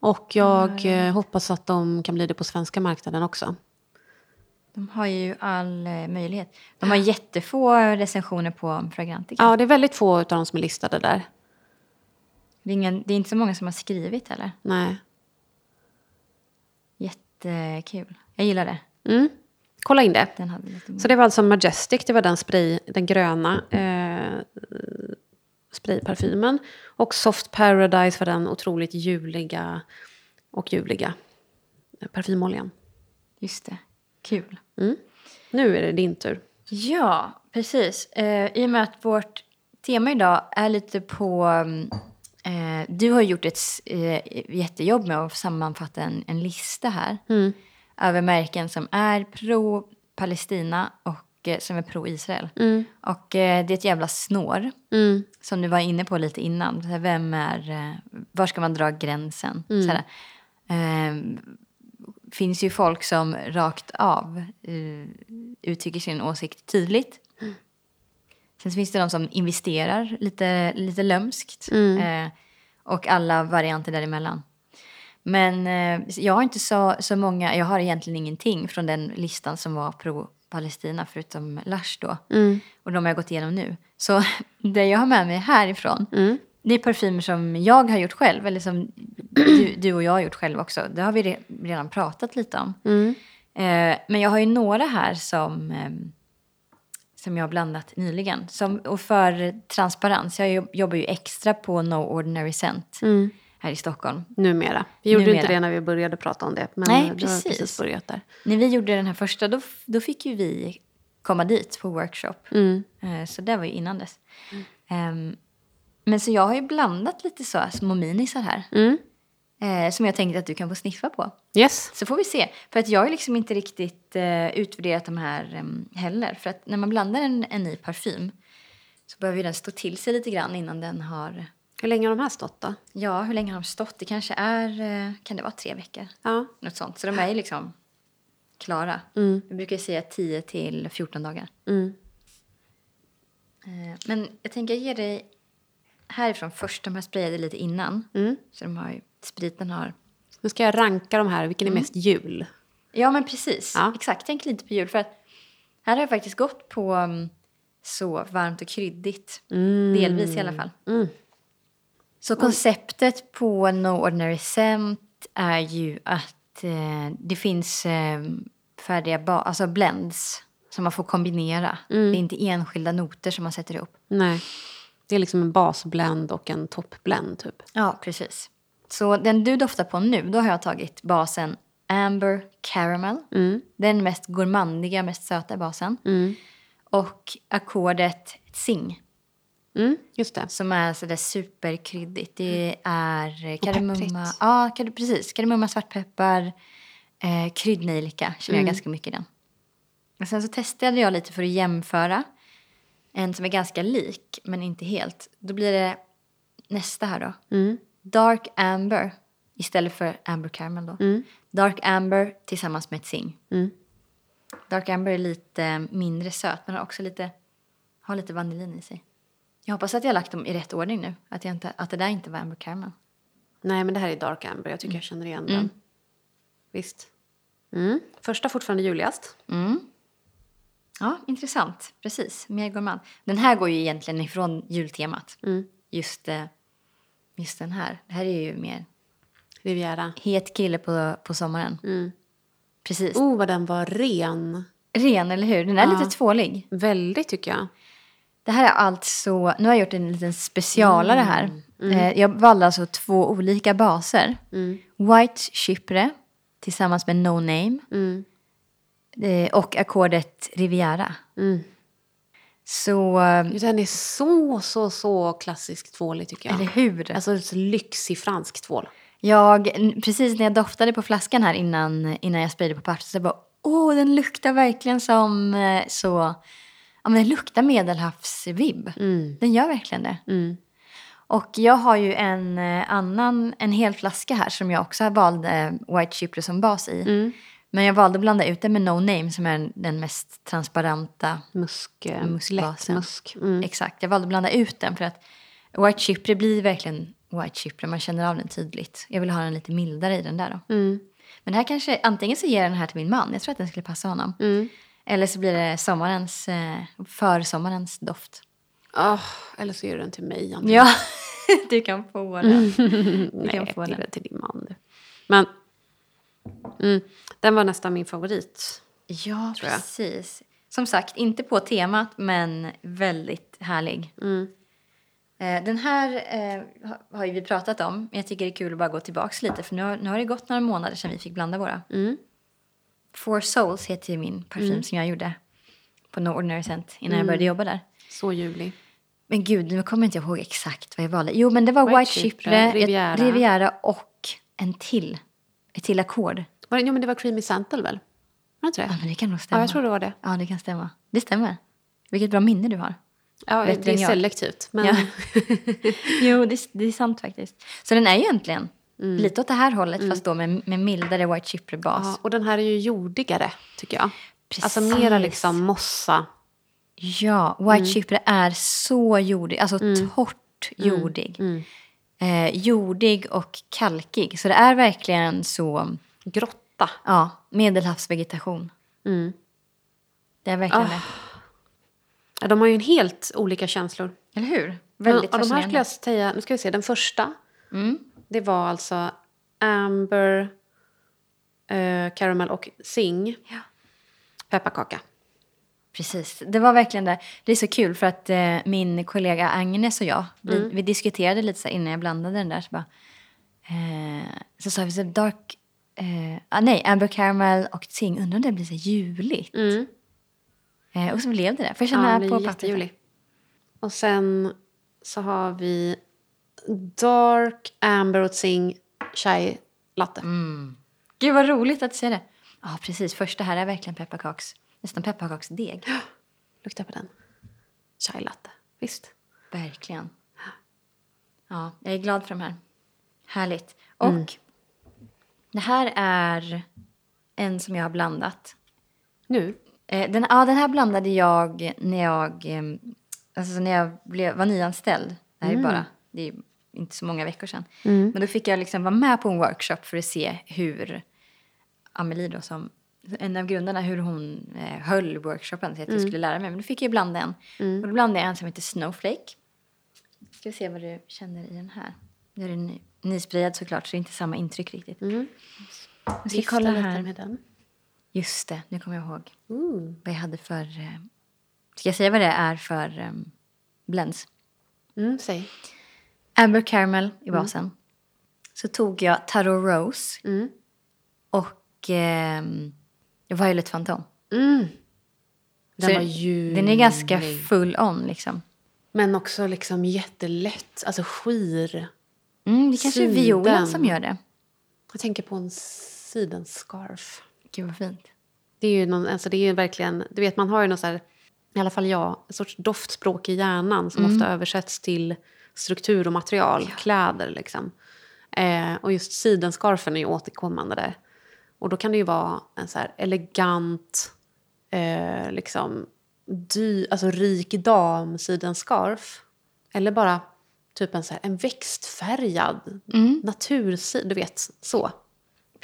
[SPEAKER 1] Och jag eh, hoppas att de kan bli det på svenska marknaden också.
[SPEAKER 2] De har ju all eh, möjlighet. De har jättefå recensioner på Fragrantica.
[SPEAKER 1] Ja, det är väldigt få av dem som är listade där.
[SPEAKER 2] Det, är ingen, det är inte så många som har skrivit heller.
[SPEAKER 1] Nej.
[SPEAKER 2] Jättekul. Jag gillar det.
[SPEAKER 1] Mm. Kolla in det.
[SPEAKER 2] Den hade lite
[SPEAKER 1] Så det var alltså Majestic, det var den spray, den gröna eh, sprayparfymen. Och Soft Paradise var den otroligt juliga och ljuvliga parfymoljan.
[SPEAKER 2] Just det. Kul.
[SPEAKER 1] Mm. Nu är det din tur.
[SPEAKER 2] Ja, precis. Eh, I och med att vårt tema idag är lite på... mm, Eh, du har gjort ett s- eh, jättejobb med att sammanfatta en, en lista här
[SPEAKER 1] Mm.
[SPEAKER 2] över märken som är pro-Palestina och eh, som är pro-Israel.
[SPEAKER 1] Mm.
[SPEAKER 2] Och eh, det är ett jävla snår,
[SPEAKER 1] Mm.
[SPEAKER 2] som du var inne på lite innan. Så här, Vem är... eh, Var ska man dra gränsen? Så här, eh, finns ju folk som rakt av eh, uttrycker sin åsikt tydligt. Sen så finns det de som investerar lite, lite lömskt. Eh, och alla varianter däremellan. Men eh, jag har inte så, så många, jag har egentligen ingenting från den listan som var pro-Palestina förutom Lars då.
[SPEAKER 1] mm,
[SPEAKER 2] Och de har jag gått igenom nu. Så *laughs* det jag har med mig härifrån,
[SPEAKER 1] mm,
[SPEAKER 2] det är parfymer som jag har gjort själv. Eller som du, du och jag har gjort själv också. Det har vi re, redan pratat lite om.
[SPEAKER 1] mm.
[SPEAKER 2] Eh, men jag har ju några här som, ehm, som jag har blandat nyligen. Som, och för transparens, jag jo- jobbar ju extra på No Ordinary Scent här i Stockholm.
[SPEAKER 1] Numera. Vi gjorde
[SPEAKER 2] Numera.
[SPEAKER 1] inte det när vi började prata om det. Men
[SPEAKER 2] Nej,
[SPEAKER 1] du har
[SPEAKER 2] precis
[SPEAKER 1] precis börjat där.
[SPEAKER 2] När vi gjorde den här första, då, f- då fick ju vi komma dit på workshop.
[SPEAKER 1] Mm.
[SPEAKER 2] Eh, Så det var ju innan dess. Ehm, Men så jag har ju blandat lite så här små minisar här.
[SPEAKER 1] Mm.
[SPEAKER 2] eh, Som jag tänkte att du kan få sniffa på.
[SPEAKER 1] Yes.
[SPEAKER 2] Så får vi se. För att jag har ju liksom inte riktigt eh, utvärderat de här em, heller. För att när man blandar en, en ny parfym så behöver ju den stå till sig lite grann innan den har...
[SPEAKER 1] Hur länge har de här stått då?
[SPEAKER 2] Ja, hur länge har de stått? Det kanske är... eh, Kan det vara tre veckor?
[SPEAKER 1] Ja.
[SPEAKER 2] Något sånt. Så de är ju liksom klara.
[SPEAKER 1] Mm.
[SPEAKER 2] Jag brukar ju säga 10 till 14 dagar.
[SPEAKER 1] Mm.
[SPEAKER 2] Eh, Men jag tänker ge dig härifrån först. De här sprayade lite innan.
[SPEAKER 1] Mm.
[SPEAKER 2] Så de har ju, spriten har...
[SPEAKER 1] Nu ska jag ranka de här. Vilken är mest jul?
[SPEAKER 2] Ja, men precis.
[SPEAKER 1] Ja.
[SPEAKER 2] Exakt. Tänk lite på jul. För att här har jag faktiskt gått på mm, så varmt och kryddigt. Delvis i alla fall.
[SPEAKER 1] Mm.
[SPEAKER 2] Så konceptet på No Ordinary Scent är ju att eh, det finns eh, färdiga ba- alltså blends som man får kombinera.
[SPEAKER 1] Mm.
[SPEAKER 2] Det är inte enskilda noter som man sätter ihop.
[SPEAKER 1] Nej. Det är liksom en basblend och en toppblend typ.
[SPEAKER 2] Ja, precis. Så den du doftar på nu, då har jag tagit basen Amber Caramel. Den mest gourmandiga, mest söta basen. Och ackordet Sing,
[SPEAKER 1] Mm. Just det. Mm.
[SPEAKER 2] som är sådär superkryddigt. Det är eh, kardemumma...
[SPEAKER 1] pepprigt.
[SPEAKER 2] Ja, kard, precis. Kardemumma, svartpeppar, Eh, kryddnejlika känner
[SPEAKER 1] Mm.
[SPEAKER 2] jag ganska mycket i den. Och sen så testade jag lite för att jämföra. En som är ganska lik, men inte helt. Då blir det nästa här då.
[SPEAKER 1] Mm.
[SPEAKER 2] Dark Amber istället för Amber Caramel då.
[SPEAKER 1] Mm.
[SPEAKER 2] Dark Amber tillsammans med ett zing.
[SPEAKER 1] Mm.
[SPEAKER 2] Dark Amber är lite mindre söt, men har också lite, har lite vanilin i sig. Jag hoppas att jag har lagt dem i rätt ordning nu. Att, jag inte, att det där inte var Amber Caramel.
[SPEAKER 1] Nej, men det här är Dark Amber. Jag tycker jag känner igen den. Visst. Mm. Första fortfarande juligast.
[SPEAKER 2] Mm. Ja, intressant. Precis. Mer gourmand. Den här går ju egentligen ifrån jultemat.
[SPEAKER 1] Mm.
[SPEAKER 2] Just, eh, just den här. Det här är ju mer
[SPEAKER 1] Riviera.
[SPEAKER 2] het kille på, på sommaren.
[SPEAKER 1] Mm.
[SPEAKER 2] Precis.
[SPEAKER 1] Oh, vad den var ren.
[SPEAKER 2] Ren, eller hur? Den är
[SPEAKER 1] Ja.
[SPEAKER 2] lite tvålig.
[SPEAKER 1] Väldigt, tycker jag.
[SPEAKER 2] Det här är alltså... Nu har jag gjort en liten specialare här. Eh, Jag valde alltså två olika baser.
[SPEAKER 1] Mm.
[SPEAKER 2] White Chypre tillsammans med No Name
[SPEAKER 1] Mm.
[SPEAKER 2] eh, och ackordet Riviera.
[SPEAKER 1] Mm.
[SPEAKER 2] Så... eh,
[SPEAKER 1] Den är så, så, så klassisk tvålig, tycker jag.
[SPEAKER 2] Eller hur?
[SPEAKER 1] Alltså, så lyxig fransk tvål.
[SPEAKER 2] Jag, n- precis när jag doftade på flaskan här innan, innan jag spridde på pappret så jag bara åh, den luktar verkligen som eh, så, ja men den luktar medelhavsvibb.
[SPEAKER 1] Mm.
[SPEAKER 2] Den gör verkligen det.
[SPEAKER 1] Mm.
[SPEAKER 2] Och jag har ju en eh, annan, en hel flaska här som jag också valde White Chypre som bas i.
[SPEAKER 1] Mm.
[SPEAKER 2] Men jag valde att blanda ut den med No Name som är den mest transparenta
[SPEAKER 1] Musk, eh, lätt
[SPEAKER 2] Muskbasen.
[SPEAKER 1] musk. Mm.
[SPEAKER 2] Exakt, jag valde att blanda ut den för att White Chypre blir verkligen White Chypre, man känner av den tydligt. Jag vill ha den lite mildare i den där då.
[SPEAKER 1] Mm.
[SPEAKER 2] Men det här kanske, antingen så ger jag den här till min man, jag tror att den skulle passa honom.
[SPEAKER 1] Mm.
[SPEAKER 2] Eller så blir det sommarens, eh, försommarens doft.
[SPEAKER 1] Ah, eller så ger du den till mig. Antingen.
[SPEAKER 2] Ja, *laughs* du kan få
[SPEAKER 1] Mm.
[SPEAKER 2] den.
[SPEAKER 1] Nej,
[SPEAKER 2] kan
[SPEAKER 1] jag
[SPEAKER 2] få
[SPEAKER 1] till,
[SPEAKER 2] den.
[SPEAKER 1] till din man. du. Men mm, den var nästan min favorit.
[SPEAKER 2] Ja,
[SPEAKER 1] Tror jag.
[SPEAKER 2] precis. Som sagt, inte på temat, men väldigt härlig.
[SPEAKER 1] Mm.
[SPEAKER 2] Eh, Den här eh, ha- har ju vi pratat om. Jag tycker det är kul att bara gå tillbaka lite, för nu har, nu har det gått några månader sedan vi fick blanda våra.
[SPEAKER 1] Mm.
[SPEAKER 2] Four Souls heter ju min parfym som jag gjorde på No Ordinary Scent innan
[SPEAKER 1] Mm.
[SPEAKER 2] jag började jobba där.
[SPEAKER 1] Så ljuvlig.
[SPEAKER 2] Men gud, nu kommer inte jag ihåg exakt vad jag valde. Jo, men det var
[SPEAKER 1] White
[SPEAKER 2] White,
[SPEAKER 1] Chypre,
[SPEAKER 2] Chypre,
[SPEAKER 1] Riviera.
[SPEAKER 2] Riviera. Riviera och en till. Ett till ackord.
[SPEAKER 1] Var det, jo, men det var Creamy Santel väl? Var det inte
[SPEAKER 2] Ja,
[SPEAKER 1] det?
[SPEAKER 2] men det kan nog stämma.
[SPEAKER 1] Ja, jag tror det var det.
[SPEAKER 2] Ja, det kan stämma. Det stämmer. Vilket bra minne du har.
[SPEAKER 1] Ja,
[SPEAKER 2] Bättre
[SPEAKER 1] det är
[SPEAKER 2] än jag.
[SPEAKER 1] selektivt. Men,
[SPEAKER 2] Ja. Jo, det, det är sant faktiskt. Så den är ju egentligen lite åt det här hållet, fast då med, med mildare White Chypre-bas.
[SPEAKER 1] *laughs* ja, och den här är ju jordigare, tycker jag.
[SPEAKER 2] Precis.
[SPEAKER 1] Alltså mera liksom mossa.
[SPEAKER 2] Ja, White Chypre är så jordig. Alltså torrt jordig.
[SPEAKER 1] Mm.
[SPEAKER 2] Eh, jordig och kalkig. Så det är verkligen så,
[SPEAKER 1] Grotta.
[SPEAKER 2] ja, medelhavsvegetation.
[SPEAKER 1] Mm.
[SPEAKER 2] Det är verkligen
[SPEAKER 1] Ah.
[SPEAKER 2] det.
[SPEAKER 1] Ja, de har ju en helt olika känslor.
[SPEAKER 2] Eller hur?
[SPEAKER 1] Men av de här skulle jag säga, nu ska vi se, den första,
[SPEAKER 2] Mm.
[SPEAKER 1] det var alltså Amber, eh, Caramel och Sing.
[SPEAKER 2] Ja.
[SPEAKER 1] Pepparkaka.
[SPEAKER 2] Precis. Det var verkligen det. Det är så kul för att eh, min kollega Agnes och jag, vi,
[SPEAKER 1] Mm.
[SPEAKER 2] vi diskuterade lite så här innan jag blandade den där. Så, bara, eh, så sa vi så här, dark... Eh, ah, nej, Amber Caramel och Ting. Undrar om det blir så här juligt.
[SPEAKER 1] Mm.
[SPEAKER 2] Eh, och så blev det det. För jag
[SPEAKER 1] Ja,
[SPEAKER 2] känna
[SPEAKER 1] den är
[SPEAKER 2] på
[SPEAKER 1] ju
[SPEAKER 2] pappret.
[SPEAKER 1] jättejulig. Och sen så har vi Dark Amber och Sing Chai Latte.
[SPEAKER 2] Mm. Gud vad roligt att se det. Ja, precis. Första här är verkligen pepparkaks...
[SPEAKER 1] *gasps*
[SPEAKER 2] Nästan pepparkaksdeg.
[SPEAKER 1] Lukta på den. Chai Latte. Visst.
[SPEAKER 2] Verkligen. Ja, jag är glad för de här. Härligt. Och
[SPEAKER 1] Mm.
[SPEAKER 2] det här är en som jag har blandat.
[SPEAKER 1] Nu.
[SPEAKER 2] Eh, Den, ja, den här blandade jag när jag, eh, alltså när jag blev, var nyanställd. Det här är
[SPEAKER 1] Mm.
[SPEAKER 2] bara, det är inte så många veckor sedan. Men då fick jag liksom vara med på en workshop för att se hur Amelie då som en av grundarna hur hon eh, höll workshopen så att
[SPEAKER 1] Mm.
[SPEAKER 2] jag skulle lära mig. Men då fick jag ju blanda en. Och då blandade jag en som heter Snowflake. Ska vi se vad du känner i den här. Nu är den ny, nysprayad såklart så det är inte samma intryck riktigt.
[SPEAKER 1] Mm.
[SPEAKER 2] Vi ska kolla
[SPEAKER 1] lite
[SPEAKER 2] här.
[SPEAKER 1] med den.
[SPEAKER 2] Just det, nu kommer jag ihåg
[SPEAKER 1] Mm.
[SPEAKER 2] vad jag hade för... eh, Ska jag säga vad det är för um, blends?
[SPEAKER 1] Mm, säg.
[SPEAKER 2] Amber Caramel i basen. Så tog jag Tarot Rose
[SPEAKER 1] Mm.
[SPEAKER 2] och eh, Violet Phantom.
[SPEAKER 1] Mm. Den
[SPEAKER 2] Så
[SPEAKER 1] var ljuvlig.
[SPEAKER 2] Den är ganska full on liksom.
[SPEAKER 1] Men också liksom jättelätt. Alltså skir.
[SPEAKER 2] Mm, det kanske är violen
[SPEAKER 1] Sidan.
[SPEAKER 2] som gör det.
[SPEAKER 1] Jag tänker på en s- sidenscarf.
[SPEAKER 2] Gud vad fint.
[SPEAKER 1] Det är ju, någon, alltså det är ju verkligen, du vet man har ju någon så här, i alla fall jag, en sorts doftspråk i hjärnan som ofta översätts till struktur och material, kläder liksom. Eh, och just sidenscarfen är ju återkommande där. Och då kan det ju vara en så här elegant, eh, liksom dy, alltså rik dam sidenscarf. Eller bara typ en, så här, en växtfärgad
[SPEAKER 2] Mm.
[SPEAKER 1] natursid, du vet så.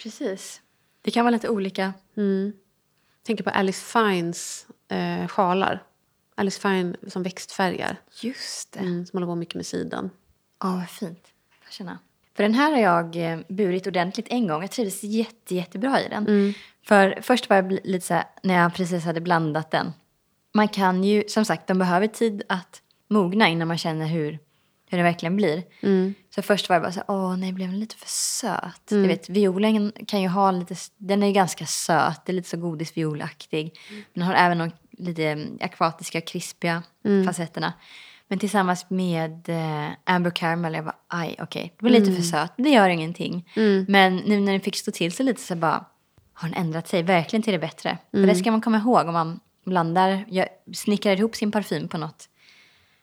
[SPEAKER 2] Precis. Det kan vara lite olika.
[SPEAKER 1] Mm. Tänker på Alice Fines eh, sjalar. Alice Fine som växtfärgar.
[SPEAKER 2] Just det.
[SPEAKER 1] Mm, som håller på mycket med siden.
[SPEAKER 2] Ja, vad fint. Får jag känna. För den här har jag eh, burit ordentligt en gång. Jag trivdes jätte, jättebra i den. För först var jag bli- lite så här, när jag precis hade blandat den. Man kan ju, som sagt, de behöver tid att mogna innan man känner hur, hur den verkligen blir. Så först var jag bara så här, åh nej, blev den lite för söt? Du vet, violen kan ju ha lite, s- den är ju ganska söt, det är lite så godisviolaktig. Men den har även de lite mm, akvatiska, krispiga facetterna. Men tillsammans med eh, Amber Caramel, jag bara, aj okej, det var lite för söt, men det gör ingenting. Men nu när den fick stå till sig lite så bara, har den ändrat sig verkligen till det bättre? För det ska man komma ihåg om man blandar, gör, snickrar ihop sin parfym på något,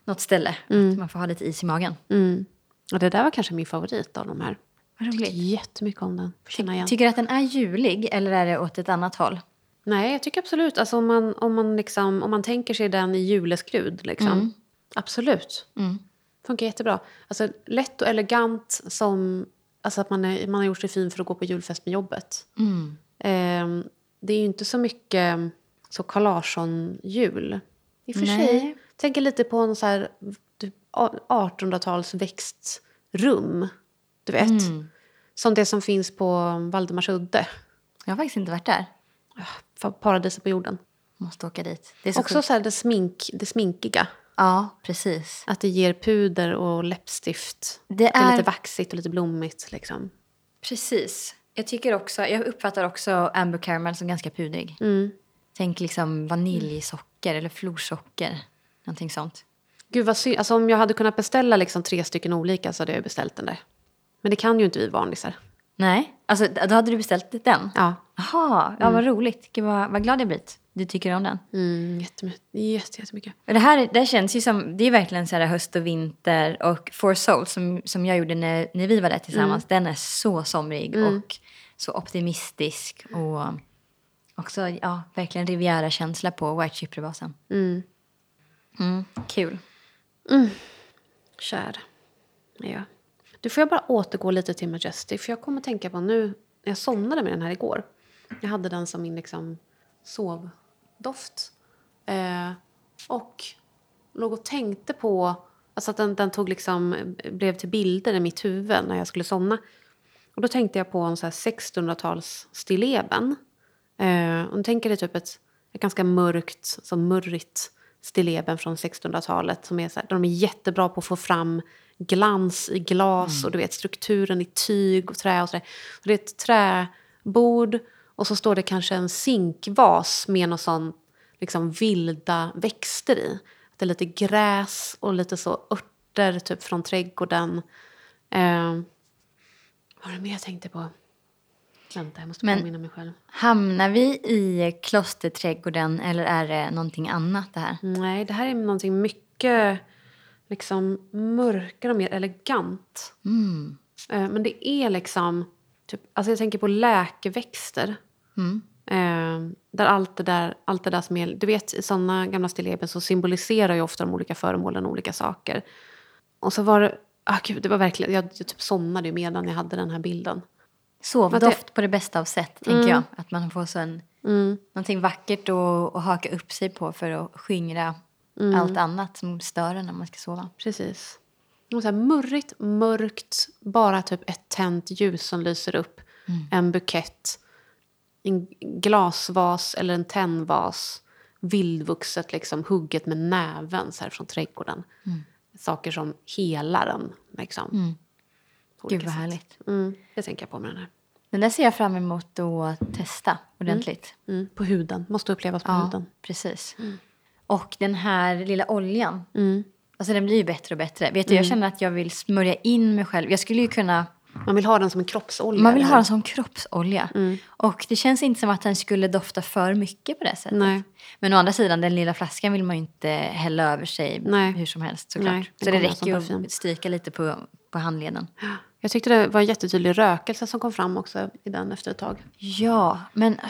[SPEAKER 2] något ställe. Att man får ha lite is i magen.
[SPEAKER 1] Mm. Och det där var kanske min favorit av de här.
[SPEAKER 2] Vad
[SPEAKER 1] Jag
[SPEAKER 2] roligt.
[SPEAKER 1] tyckte jättemycket om den. Får Känna igen.
[SPEAKER 2] Tycker du att den är julig eller är det åt ett annat håll?
[SPEAKER 1] Nej, jag tycker absolut. Alltså om man, om man, liksom, om man tänker sig den i juleskrud. Liksom. Absolut.
[SPEAKER 2] Mm.
[SPEAKER 1] Funkar jättebra. Alltså, lätt och elegant som... Alltså att man, är, man har gjort sig fin för att gå på julfest med jobbet.
[SPEAKER 2] Mm.
[SPEAKER 1] Ehm, det är ju inte så mycket mm, så Carl Larsson-jul. I och för
[SPEAKER 2] Nej.
[SPEAKER 1] sig. Tänker lite på en så här typ a- 1800-tals växtrum. Du vet.
[SPEAKER 2] Mm.
[SPEAKER 1] Som det som finns på mm, Valdemarsudde.
[SPEAKER 2] Jag har faktiskt inte varit där.
[SPEAKER 1] Ah, Fa- Paradiset på jorden.
[SPEAKER 2] Måste åka dit. Det är så
[SPEAKER 1] Också
[SPEAKER 2] sjukt.
[SPEAKER 1] så här det, smink, det sminkiga.
[SPEAKER 2] Ja, precis.
[SPEAKER 1] Att det ger puder och läppstift.
[SPEAKER 2] Det
[SPEAKER 1] Det är
[SPEAKER 2] är-
[SPEAKER 1] lite vaxigt och lite blommigt. Liksom.
[SPEAKER 2] Precis. Jag tycker också, jag uppfattar också Amber Caramel som ganska pudrig.
[SPEAKER 1] Mm.
[SPEAKER 2] Tänk liksom vaniljsocker eller florsocker. Någonting sånt.
[SPEAKER 1] Gud vad synd. Alltså, om jag hade kunnat beställa liksom, tre stycken olika så hade jag beställt den där. Men det kan ju inte vi vanlisar.
[SPEAKER 2] Nej, alltså d- då hade du beställt den?
[SPEAKER 1] Ja.
[SPEAKER 2] Jaha, ja, vad roligt. Gud, vad, vad glad jag blivit. Du tycker om den.
[SPEAKER 1] Mm, jättemy- jätte, jättemycket.
[SPEAKER 2] Och Det här det här känns ju som, det är verkligen så här höst och vinter och Four Souls som, som jag gjorde när, när vi var där tillsammans, den är så somrig och så optimistisk och också, ja, verkligen Riviera-känsla på White Chipper-basen.
[SPEAKER 1] Mm.
[SPEAKER 2] Mm, kul.
[SPEAKER 1] Kär. Ja. Du får jag bara återgå lite till Majesty. För jag kommer att tänka på nu, jag somnade med den här igår. Jag hade den som min liksom, sovdoft. Eh, och låg och tänkte på, alltså att den, den tog liksom, blev till bilder i mitt huvud när jag skulle somna. Och då tänkte jag på en så här 1600-tals stilleben. Eh, och då tänker det typ ett, ett ganska mörkt, så murrigt stilleben från 1600-talet. Som är så här, där de är jättebra på att få fram glans i glas och du vet strukturen i tyg och trä och sådär. Så det är ett träbord och så står det kanske en zinkvas med någon sån liksom vilda växter i. Det är lite gräs och lite så örter typ från trädgården. Eh, vad var det mer jag tänkte på? Vänta, jag måste
[SPEAKER 2] Men-
[SPEAKER 1] påminna mig själv.
[SPEAKER 2] Hamnar vi i klosterträdgården eller är det någonting annat det här?
[SPEAKER 1] Nej, det här är någonting mycket liksom mörkare och mer elegant.
[SPEAKER 2] Mm.
[SPEAKER 1] Eh, Men det är liksom... Typ, alltså jag tänker på läkeväxter.
[SPEAKER 2] Mm.
[SPEAKER 1] Eh, där allt det där, allt det där som är... Du vet, i såna gamla stilleben så symboliserar ju ofta de olika föremålen olika saker. Och så var det... Ah, gud, det var verkligen, jag, jag typ somnade ju medan jag hade den här bilden.
[SPEAKER 2] Sovdoft på det bästa av sätt, tänker jag. Att man får så en,
[SPEAKER 1] Mm.
[SPEAKER 2] någonting vackert att, att haka upp sig på för att skingra
[SPEAKER 1] Mm.
[SPEAKER 2] allt annat som stör en när man ska sova.
[SPEAKER 1] Precis. Och så här murrigt, mörkt, bara typ ett tänt ljus som lyser upp.
[SPEAKER 2] Mm.
[SPEAKER 1] En bukett, en glasvas eller en tennvas. Vildvuxet, liksom, hugget med näven så här, från trädgården.
[SPEAKER 2] Mm.
[SPEAKER 1] Saker som helar en. Liksom, på olika
[SPEAKER 2] Gud vad
[SPEAKER 1] sätt.
[SPEAKER 2] härligt.
[SPEAKER 1] Mm, det tänker jag på med den här.
[SPEAKER 2] Den där ser jag fram emot att testa ordentligt.
[SPEAKER 1] Mm, på huden, måste upplevas på
[SPEAKER 2] Ja,
[SPEAKER 1] huden.
[SPEAKER 2] precis. Och den här lilla oljan.
[SPEAKER 1] Mm.
[SPEAKER 2] Alltså den blir ju bättre och bättre. Vet du, jag känner att jag vill smörja in mig själv. Jag skulle ju kunna
[SPEAKER 1] Man vill ha den som en kroppsolja.
[SPEAKER 2] Man vill
[SPEAKER 1] eller
[SPEAKER 2] ha
[SPEAKER 1] hur?
[SPEAKER 2] den som kroppsolja.
[SPEAKER 1] Mm.
[SPEAKER 2] Och det känns inte som att den skulle dofta för mycket på det sättet.
[SPEAKER 1] Nej.
[SPEAKER 2] Men å andra sidan, den lilla flaskan vill man ju inte hälla över sig
[SPEAKER 1] Nej.
[SPEAKER 2] hur som helst såklart.
[SPEAKER 1] Nej, den
[SPEAKER 2] Så det
[SPEAKER 1] kommer som
[SPEAKER 2] räcker ju
[SPEAKER 1] parfym.
[SPEAKER 2] att stryka lite på, på handleden.
[SPEAKER 1] Jag tyckte det var en jättetydlig rökelse som kom fram också i den efter ett tag.
[SPEAKER 2] Ja, men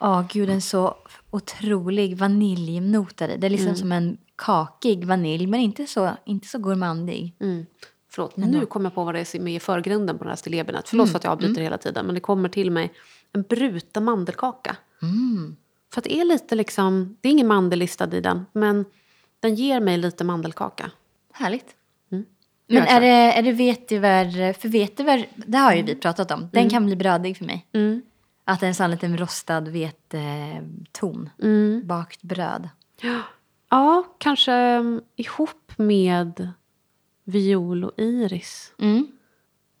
[SPEAKER 2] åh gud, en så otrolig vaniljnot är det. Det är
[SPEAKER 1] Mm.
[SPEAKER 2] liksom som en kakig vanilj, men inte så, inte så gourmandig.
[SPEAKER 1] Mm. Förlåt, nu kommer jag på vad det är som är i förgrunden på den här stillebenet.
[SPEAKER 2] Mm.
[SPEAKER 1] Förlåt för att jag avbryter hela tiden, men det kommer till mig en bruten mandelkaka.
[SPEAKER 2] Mm,
[SPEAKER 1] För att det är lite liksom, det är ingen mandel listad i den, men den ger mig lite mandelkaka.
[SPEAKER 2] Härligt.
[SPEAKER 1] Mm.
[SPEAKER 2] Men
[SPEAKER 1] Jag
[SPEAKER 2] är det, är det vetiver, för vetiver, det har ju vi pratat om, den kan bli brödig för mig.
[SPEAKER 1] Mm.
[SPEAKER 2] Att det är en sån liten rostad veteton,
[SPEAKER 1] Mm.
[SPEAKER 2] bakt bröd.
[SPEAKER 1] Ja, kanske mm, ihop med viol och iris.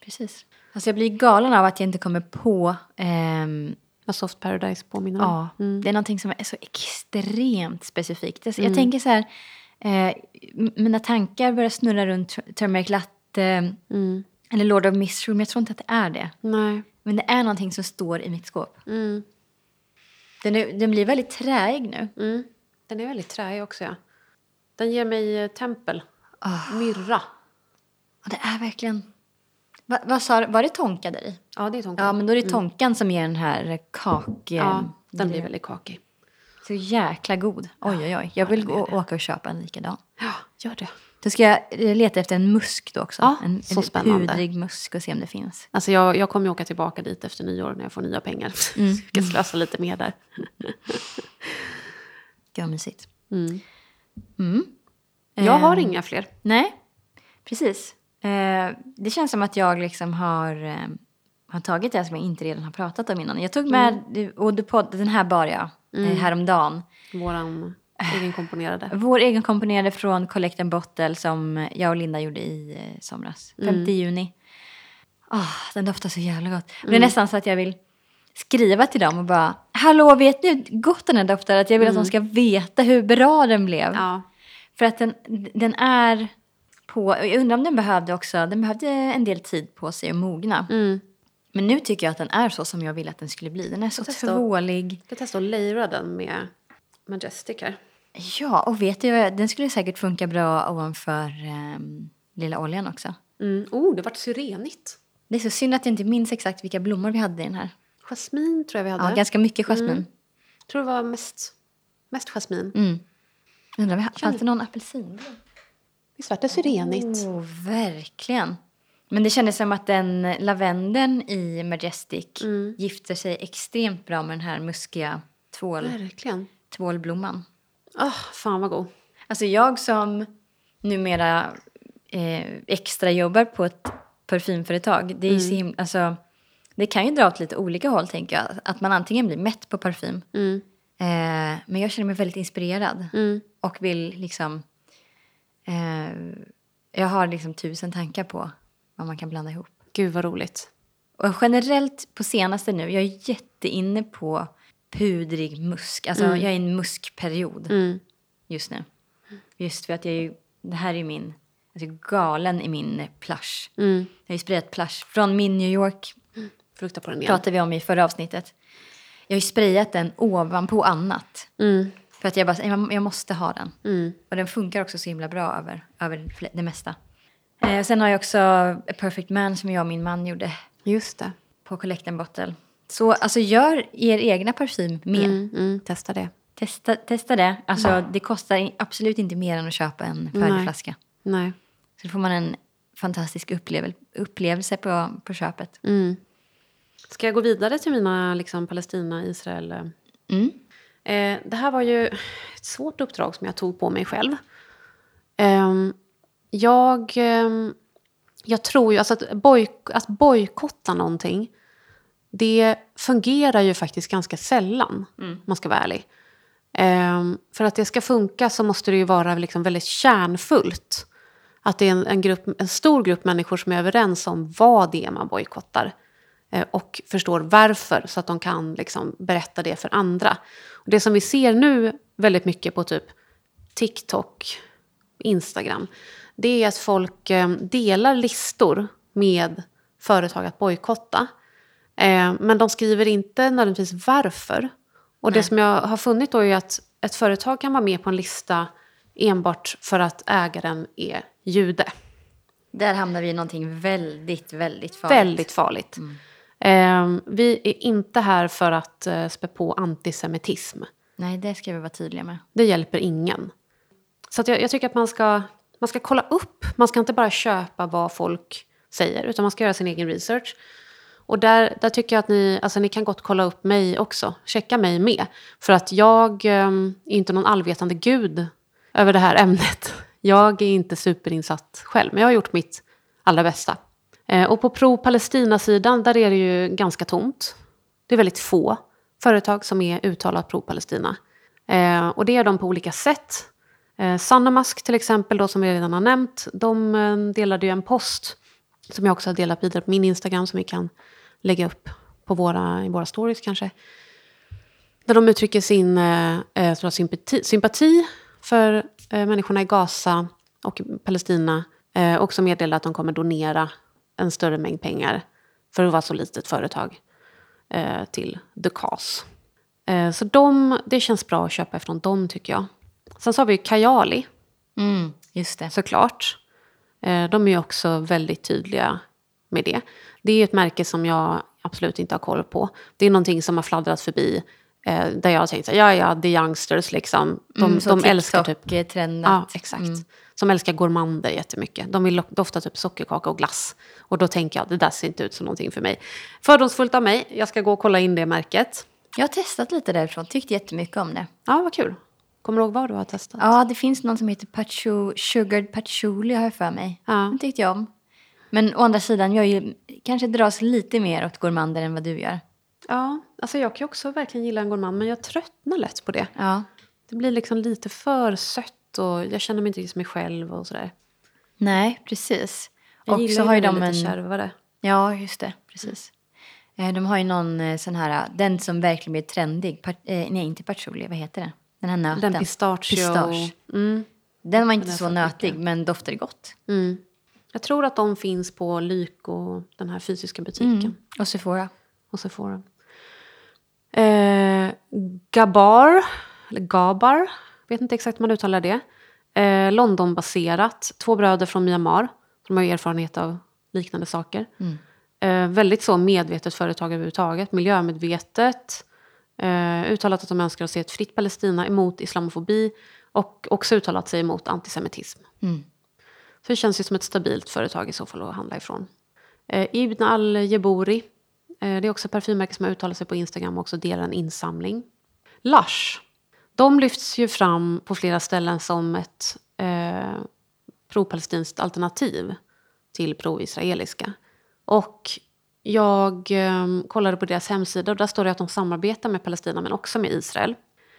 [SPEAKER 2] Precis. Alltså jag blir galen av att jag inte kommer på ehm,
[SPEAKER 1] Vad Soft Paradise påminner om.
[SPEAKER 2] Ja, det är någonting som är så extremt specifikt. Alltså, Jag, jag tänker så här, eh, m- mina tankar börjar snurra runt tur- Turmeric Latte
[SPEAKER 1] Mm.
[SPEAKER 2] eller Lord of Misrule, men jag tror inte att det är det.
[SPEAKER 1] Nej.
[SPEAKER 2] Men det är någonting som står i mitt skåp.
[SPEAKER 1] Mm.
[SPEAKER 2] Den, är, den blir väldigt träig nu.
[SPEAKER 1] Mm. Den är väldigt träig också, ja. Den ger mig eh, tempel.
[SPEAKER 2] Ah.
[SPEAKER 1] Myrra.
[SPEAKER 2] Och det är verkligen... Va, vad sa du? Var det tonka där i?
[SPEAKER 1] Ja, det är tonka.
[SPEAKER 2] Ja, men då är det tonkan som ger den här kak...
[SPEAKER 1] Mm.
[SPEAKER 2] eh,
[SPEAKER 1] Ja, den blir
[SPEAKER 2] grejen.
[SPEAKER 1] väldigt kakig.
[SPEAKER 2] Så jäkla god. Oj, oj, oj. Jag vill gå, åka och köpa en likadan.
[SPEAKER 1] Ja, gör det.
[SPEAKER 2] Då ska jag eh, leta efter en musk då också.
[SPEAKER 1] Ja,
[SPEAKER 2] en
[SPEAKER 1] så
[SPEAKER 2] en
[SPEAKER 1] spännande.
[SPEAKER 2] pudrig musk och se om det finns.
[SPEAKER 1] Alltså jag, jag kommer ju åka tillbaka dit efter nyår när jag får nya pengar. *laughs* Så jag ska slösa lite mer där.
[SPEAKER 2] Gud vad mysigt.
[SPEAKER 1] Mm.
[SPEAKER 2] Mm.
[SPEAKER 1] Jag har
[SPEAKER 2] Eh,
[SPEAKER 1] inga fler.
[SPEAKER 2] Nej, precis. Eh, det känns som att jag liksom har, eh, har tagit det som jag inte redan har pratat om innan. Jag tog
[SPEAKER 1] Mm.
[SPEAKER 2] med, och du podd, den här bar jag eh, häromdagen.
[SPEAKER 1] Våran egenkomponerade.
[SPEAKER 2] Vår egenkomponerade från Collect and Bottle som jag och Linda gjorde i eh, somras. 5
[SPEAKER 1] Mm.
[SPEAKER 2] juni. Ah, den doftar så jävla gott. Men
[SPEAKER 1] Mm.
[SPEAKER 2] Det är nästan så att jag vill skriva till dem och bara Hallå, vet ni hur gott den här doftar? Att jag vill att de ska veta hur bra den blev.
[SPEAKER 1] Mm. Ja.
[SPEAKER 2] För att den, den är på... Jag undrar om den behövde också... Den behövde en del tid på sig att mogna.
[SPEAKER 1] Mm.
[SPEAKER 2] Men nu tycker jag att den är så som jag ville att den skulle bli. Den är så
[SPEAKER 1] testa.
[SPEAKER 2] tvålig.
[SPEAKER 1] Jag ska testa att lejra den med Majestic här.
[SPEAKER 2] Ja, och vet du, vad? den skulle säkert funka bra ovanför ehm, lilla oljan också.
[SPEAKER 1] Mm. Oh, det vart syrenigt.
[SPEAKER 2] Det är så synd att jag inte minns exakt vilka blommor vi hade i den här.
[SPEAKER 1] Jasmin tror jag vi
[SPEAKER 2] Ja,
[SPEAKER 1] hade.
[SPEAKER 2] ganska mycket jasmin.
[SPEAKER 1] tror det var mest, mest jasmin.
[SPEAKER 2] Mm. Undrar, om vi- fanns det någon apelsin?
[SPEAKER 1] Visst vart det syrenigt?
[SPEAKER 2] Oh, verkligen. Men det kändes som att den lavendeln i Majestic
[SPEAKER 1] Mm.
[SPEAKER 2] gifter sig extremt bra med den här muskiga tvål,
[SPEAKER 1] Verkligen.
[SPEAKER 2] tvålblomman.
[SPEAKER 1] Ah, fan vad god.
[SPEAKER 2] Alltså jag som numera eh, extra jobbar på ett parfymföretag, det, är ju så himla, alltså, det kan ju dra åt lite olika håll tänker jag. Att man antingen blir mätt på parfym,
[SPEAKER 1] Mm.
[SPEAKER 2] eh, men jag känner mig väldigt inspirerad
[SPEAKER 1] Mm.
[SPEAKER 2] och vill liksom... Eh, jag har liksom tusen tankar på vad man kan blanda ihop.
[SPEAKER 1] Gud vad roligt.
[SPEAKER 2] Och generellt på senaste nu, jag är jätteinne på pudrig musk. Alltså jag är i en muskperiod
[SPEAKER 1] Mm.
[SPEAKER 2] just nu. Just för att jag är ju, det här är min, alltså galen i min plush.
[SPEAKER 1] Mm.
[SPEAKER 2] Jag har ju sprayat plush från min New York,
[SPEAKER 1] Frukta på den igen.
[SPEAKER 2] pratade vi om i förra avsnittet. Jag har ju sprayat den ovanpå annat.
[SPEAKER 1] Mm.
[SPEAKER 2] För att jag bara, jag- jag måste ha den.
[SPEAKER 1] Mm.
[SPEAKER 2] Och den funkar också så himla bra över, över fl- det mesta. Eh, sen har jag också A Perfect Man som jag och min man gjorde
[SPEAKER 1] Just det.
[SPEAKER 2] på Collect and Bottle. Så alltså gör er egna parfym med.
[SPEAKER 1] Mm. Mm. Testa det.
[SPEAKER 2] Testa, testa det. Alltså det kostar i- absolut inte mer än att köpa en färdig
[SPEAKER 1] Nej.
[SPEAKER 2] flaska.
[SPEAKER 1] Nej.
[SPEAKER 2] Så då får man en fantastisk upplevel- upplevelse på, på köpet.
[SPEAKER 1] Mm. Ska jag gå vidare till mina liksom, Palestina-Israel... eh,
[SPEAKER 2] Mm.
[SPEAKER 1] Eh, det här var ju ett svårt uppdrag som jag tog på mig själv. Ehm, jag, ehm, jag tror ju alltså att, boj, att bojkotta någonting, det fungerar ju faktiskt ganska sällan, om man ska vara ärlig. Ehm, för att det ska funka så måste det ju vara liksom väldigt kärnfullt. Att det är en, en, grupp, en stor grupp människor som är överens om vad det är man bojkottar. eh, Och förstår varför, så att de kan liksom berätta det för andra. Och det som vi ser nu väldigt mycket på typ TikTok, Instagram, det är att folk eh, delar listor med företag att bojkotta. Eh, men de skriver inte nödvändigtvis varför. Och det
[SPEAKER 2] Nej.
[SPEAKER 1] som jag har funnit då är att ett företag kan vara med på en lista enbart för att ägaren är jude.
[SPEAKER 2] Där hamnar vi i någonting väldigt, väldigt farligt. Mm.
[SPEAKER 1] Väldigt farligt. Eh, vi är inte här för att eh, spä på antisemitism.
[SPEAKER 2] Nej, det ska vi vara tydliga med.
[SPEAKER 1] Det hjälper ingen. Så att jag, jag tycker att man ska, man ska kolla upp. Man ska inte bara köpa vad folk säger, utan man ska göra sin egen research. Och där, där tycker jag att ni, alltså ni kan gott kolla upp mig också. Checka mig med. För att jag ehm, är inte någon allvetande gud över det här ämnet. Jag är inte superinsatt själv, men jag har gjort mitt allra bästa. Eh, och på pro-Palestina-sidan, där är det ju ganska tomt. Det är väldigt få företag som är uttalat pro-Palestina. Eh, och det är de på olika sätt. Eh, Sanamask till exempel, då, som vi redan har nämnt, de eh, delade ju en post som jag också har delat vidare på min Instagram som vi kan lägga upp på våra, i våra stories kanske. Där de uttrycker sin eh, eh, tror jag, sympati, sympati för eh, människorna i Gaza och Palestina. Eh, också meddelar att de kommer donera en större mängd pengar för att vara så litet företag eh, till The Cause. Eh, så de, det känns bra att köpa ifrån dem tycker jag. Sen så har vi ju Kajali
[SPEAKER 2] Mm, just det.
[SPEAKER 1] såklart. Eh, De är ju också väldigt tydliga med det. Det är ju ett märke som jag absolut inte har koll på. Det är någonting som har fladdrat förbi eh, där jag har tänkt så här, ja ja, the youngsters liksom. De,
[SPEAKER 2] Mm,
[SPEAKER 1] de älskar typ...
[SPEAKER 2] trendat.
[SPEAKER 1] Ja, exakt.
[SPEAKER 2] Mm.
[SPEAKER 1] Som älskar gourmander jättemycket. De vill lo- dofta typ sockerkaka och glass. Och då tänker jag, det där ser inte ut som någonting för mig. Fördomsfullt av mig, jag ska gå och kolla in det märket.
[SPEAKER 2] Jag har testat lite därifrån, tyckte jättemycket om det.
[SPEAKER 1] Ja, vad kul. Kommer du ihåg vad du har testat?
[SPEAKER 2] Ja, det finns någon som heter patcho, Sugared Patchouli har jag för mig.
[SPEAKER 1] Ja.
[SPEAKER 2] Den tyckte jag om. Men å andra sidan, jag är ju, kanske dras lite mer åt gourmander än vad du gör.
[SPEAKER 1] Ja, alltså jag kan ju också verkligen gilla en gourmand, men jag tröttnar lätt på det.
[SPEAKER 2] Ja.
[SPEAKER 1] Det blir liksom lite för sött och jag känner mig inte riktigt som mig själv och sådär.
[SPEAKER 2] Nej, precis.
[SPEAKER 1] Jag
[SPEAKER 2] Och
[SPEAKER 1] gillar
[SPEAKER 2] så har ju
[SPEAKER 1] när
[SPEAKER 2] de
[SPEAKER 1] det är lite
[SPEAKER 2] en...
[SPEAKER 1] kärvare.
[SPEAKER 2] Ja, just det. Precis. Eh, De har ju någon eh, sån här, den som verkligen blir trendig. Pat, eh, nej, inte patchouli, vad heter det? Den här nöten.
[SPEAKER 1] Den pistachio.
[SPEAKER 2] Pistage.
[SPEAKER 1] Mm,
[SPEAKER 2] Den var inte
[SPEAKER 1] Den är
[SPEAKER 2] så
[SPEAKER 1] så
[SPEAKER 2] nötig, men doftade gott.
[SPEAKER 1] mm. Jag tror att de finns på Lyko, den här fysiska
[SPEAKER 2] Mm.
[SPEAKER 1] butiken.
[SPEAKER 2] Och Sephora.
[SPEAKER 1] Och så får de. Eh, Gabar, eller Gabar, vet inte exakt hur man uttalar det. Eh, Londonbaserat, två bröder från Myanmar. De har ju erfarenhet av liknande saker.
[SPEAKER 2] Mm.
[SPEAKER 1] Eh, väldigt så medvetet företag överhuvudtaget, miljömedvetet. Eh, uttalat att de önskar att se ett fritt Palestina emot islamofobi och också uttalat sig emot antisemitism.
[SPEAKER 2] Mm.
[SPEAKER 1] Så det känns ju som ett stabilt företag i så fall att handla ifrån. Eh, Ibn al-Jebouri, eh, det är också ett parfymmärke som har uttalat sig på Instagram och också delar en insamling. Lush, de lyfts ju fram på flera ställen som ett eh, pro-palestinskt alternativ till pro-israeliska. Och jag eh, kollade på deras hemsida och där står det att de samarbetar med Palestina men också med Israel.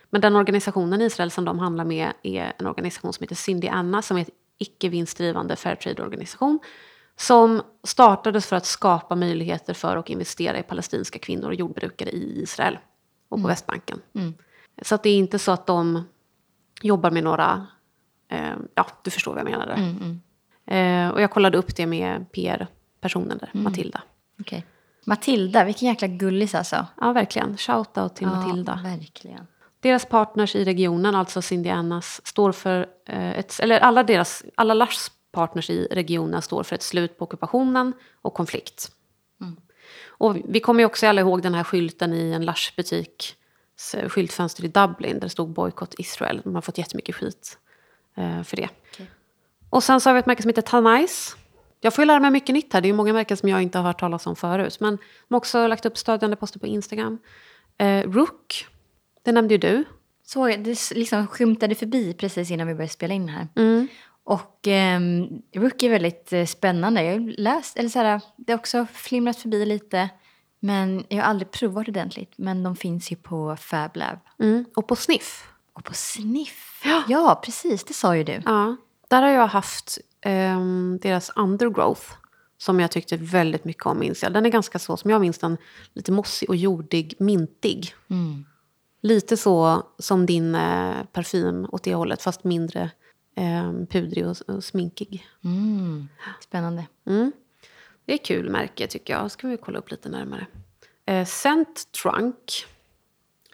[SPEAKER 1] Men den organisationen i Israel som de handlar med är en organisation som heter Cindy Anna som är ett icke vinstdrivande Fairtrade-organisation som startades för att skapa möjligheter för och investera i palestinska kvinnor och jordbrukare i Israel och på Västbanken.
[SPEAKER 2] Mm.
[SPEAKER 1] Så att det är inte så att de jobbar med några, eh, ja du förstår vad jag menar där.
[SPEAKER 2] Mm, mm.
[SPEAKER 1] Eh, och jag kollade upp det med PR-personen där, Matilda.
[SPEAKER 2] Okej. Matilda, vilken jäkla gullis alltså.
[SPEAKER 1] Ja, verkligen. Shoutout till
[SPEAKER 2] Ja,
[SPEAKER 1] Matilda.
[SPEAKER 2] verkligen.
[SPEAKER 1] Deras partners i regionen, alltså Cindy Annas, står för eh, ett, eller alla deras, alla Lars partners i regionen står för ett slut på ockupationen och konflikt. Och vi kommer ju också alla ihåg den här skylten i en Lars-butik, s- skyltfönster i Dublin, där det stod Boycott Israel. De har fått jättemycket skit eh, för det.
[SPEAKER 2] Okej.
[SPEAKER 1] Och sen så har vi ett märke som heter Tanais. Jag får ju lära mig mycket nytt här. Det är ju många märken som jag inte har hört talas om förut. Men de har också lagt upp stödjande poster på Instagram. Eh, Rook, det nämnde ju du.
[SPEAKER 2] Så det s- liksom skymtade förbi precis innan vi började spela in här.
[SPEAKER 1] Mm.
[SPEAKER 2] Och ehm, Rook är väldigt eh, spännande. Jag har ju läst, eller så här, det har också flimrat förbi lite. Men jag har aldrig provat ordentligt. Men de finns ju på FabLab.
[SPEAKER 1] Mm. Och på Sniff.
[SPEAKER 2] Och på Sniff.
[SPEAKER 1] Ja.
[SPEAKER 2] ja, precis. Det sa ju du.
[SPEAKER 1] Ja. Där har jag haft ehm, deras Undergrowth. Som jag tyckte väldigt mycket om, minns jag. Den är ganska så, som jag minns den, lite mossig och jordig, mintig.
[SPEAKER 2] Mm.
[SPEAKER 1] Lite så som din eh, parfym åt det hållet, fast mindre ehm, eh, pudrig och, och sminkig.
[SPEAKER 2] Mm. Spännande.
[SPEAKER 1] Mm. Det är kul märke tycker jag. Ska vi kolla upp lite närmare. Eh, Scent Trunk.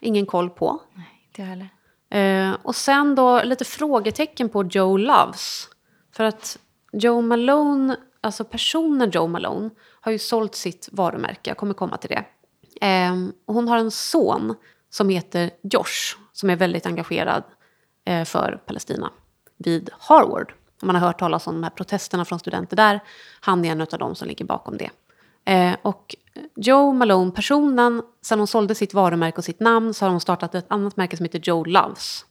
[SPEAKER 1] Ingen koll på.
[SPEAKER 2] Nej, inte jag heller.
[SPEAKER 1] Eh, och sen då lite frågetecken på Joe Loves. För att Joe Malone, alltså personen Joe Malone, har ju sålt sitt varumärke. Jag kommer komma till det. Eh, och hon har en son som heter Josh, som är väldigt engagerad eh, för Palestina vid Harvard. Om Man har hört talas om de här protesterna från studenter där. Han är en av dem som ligger bakom det. Eh, och Joe Malone, personen, sen hon sålde sitt varumärke och sitt namn så har hon startat ett annat märke som heter Joe Loves.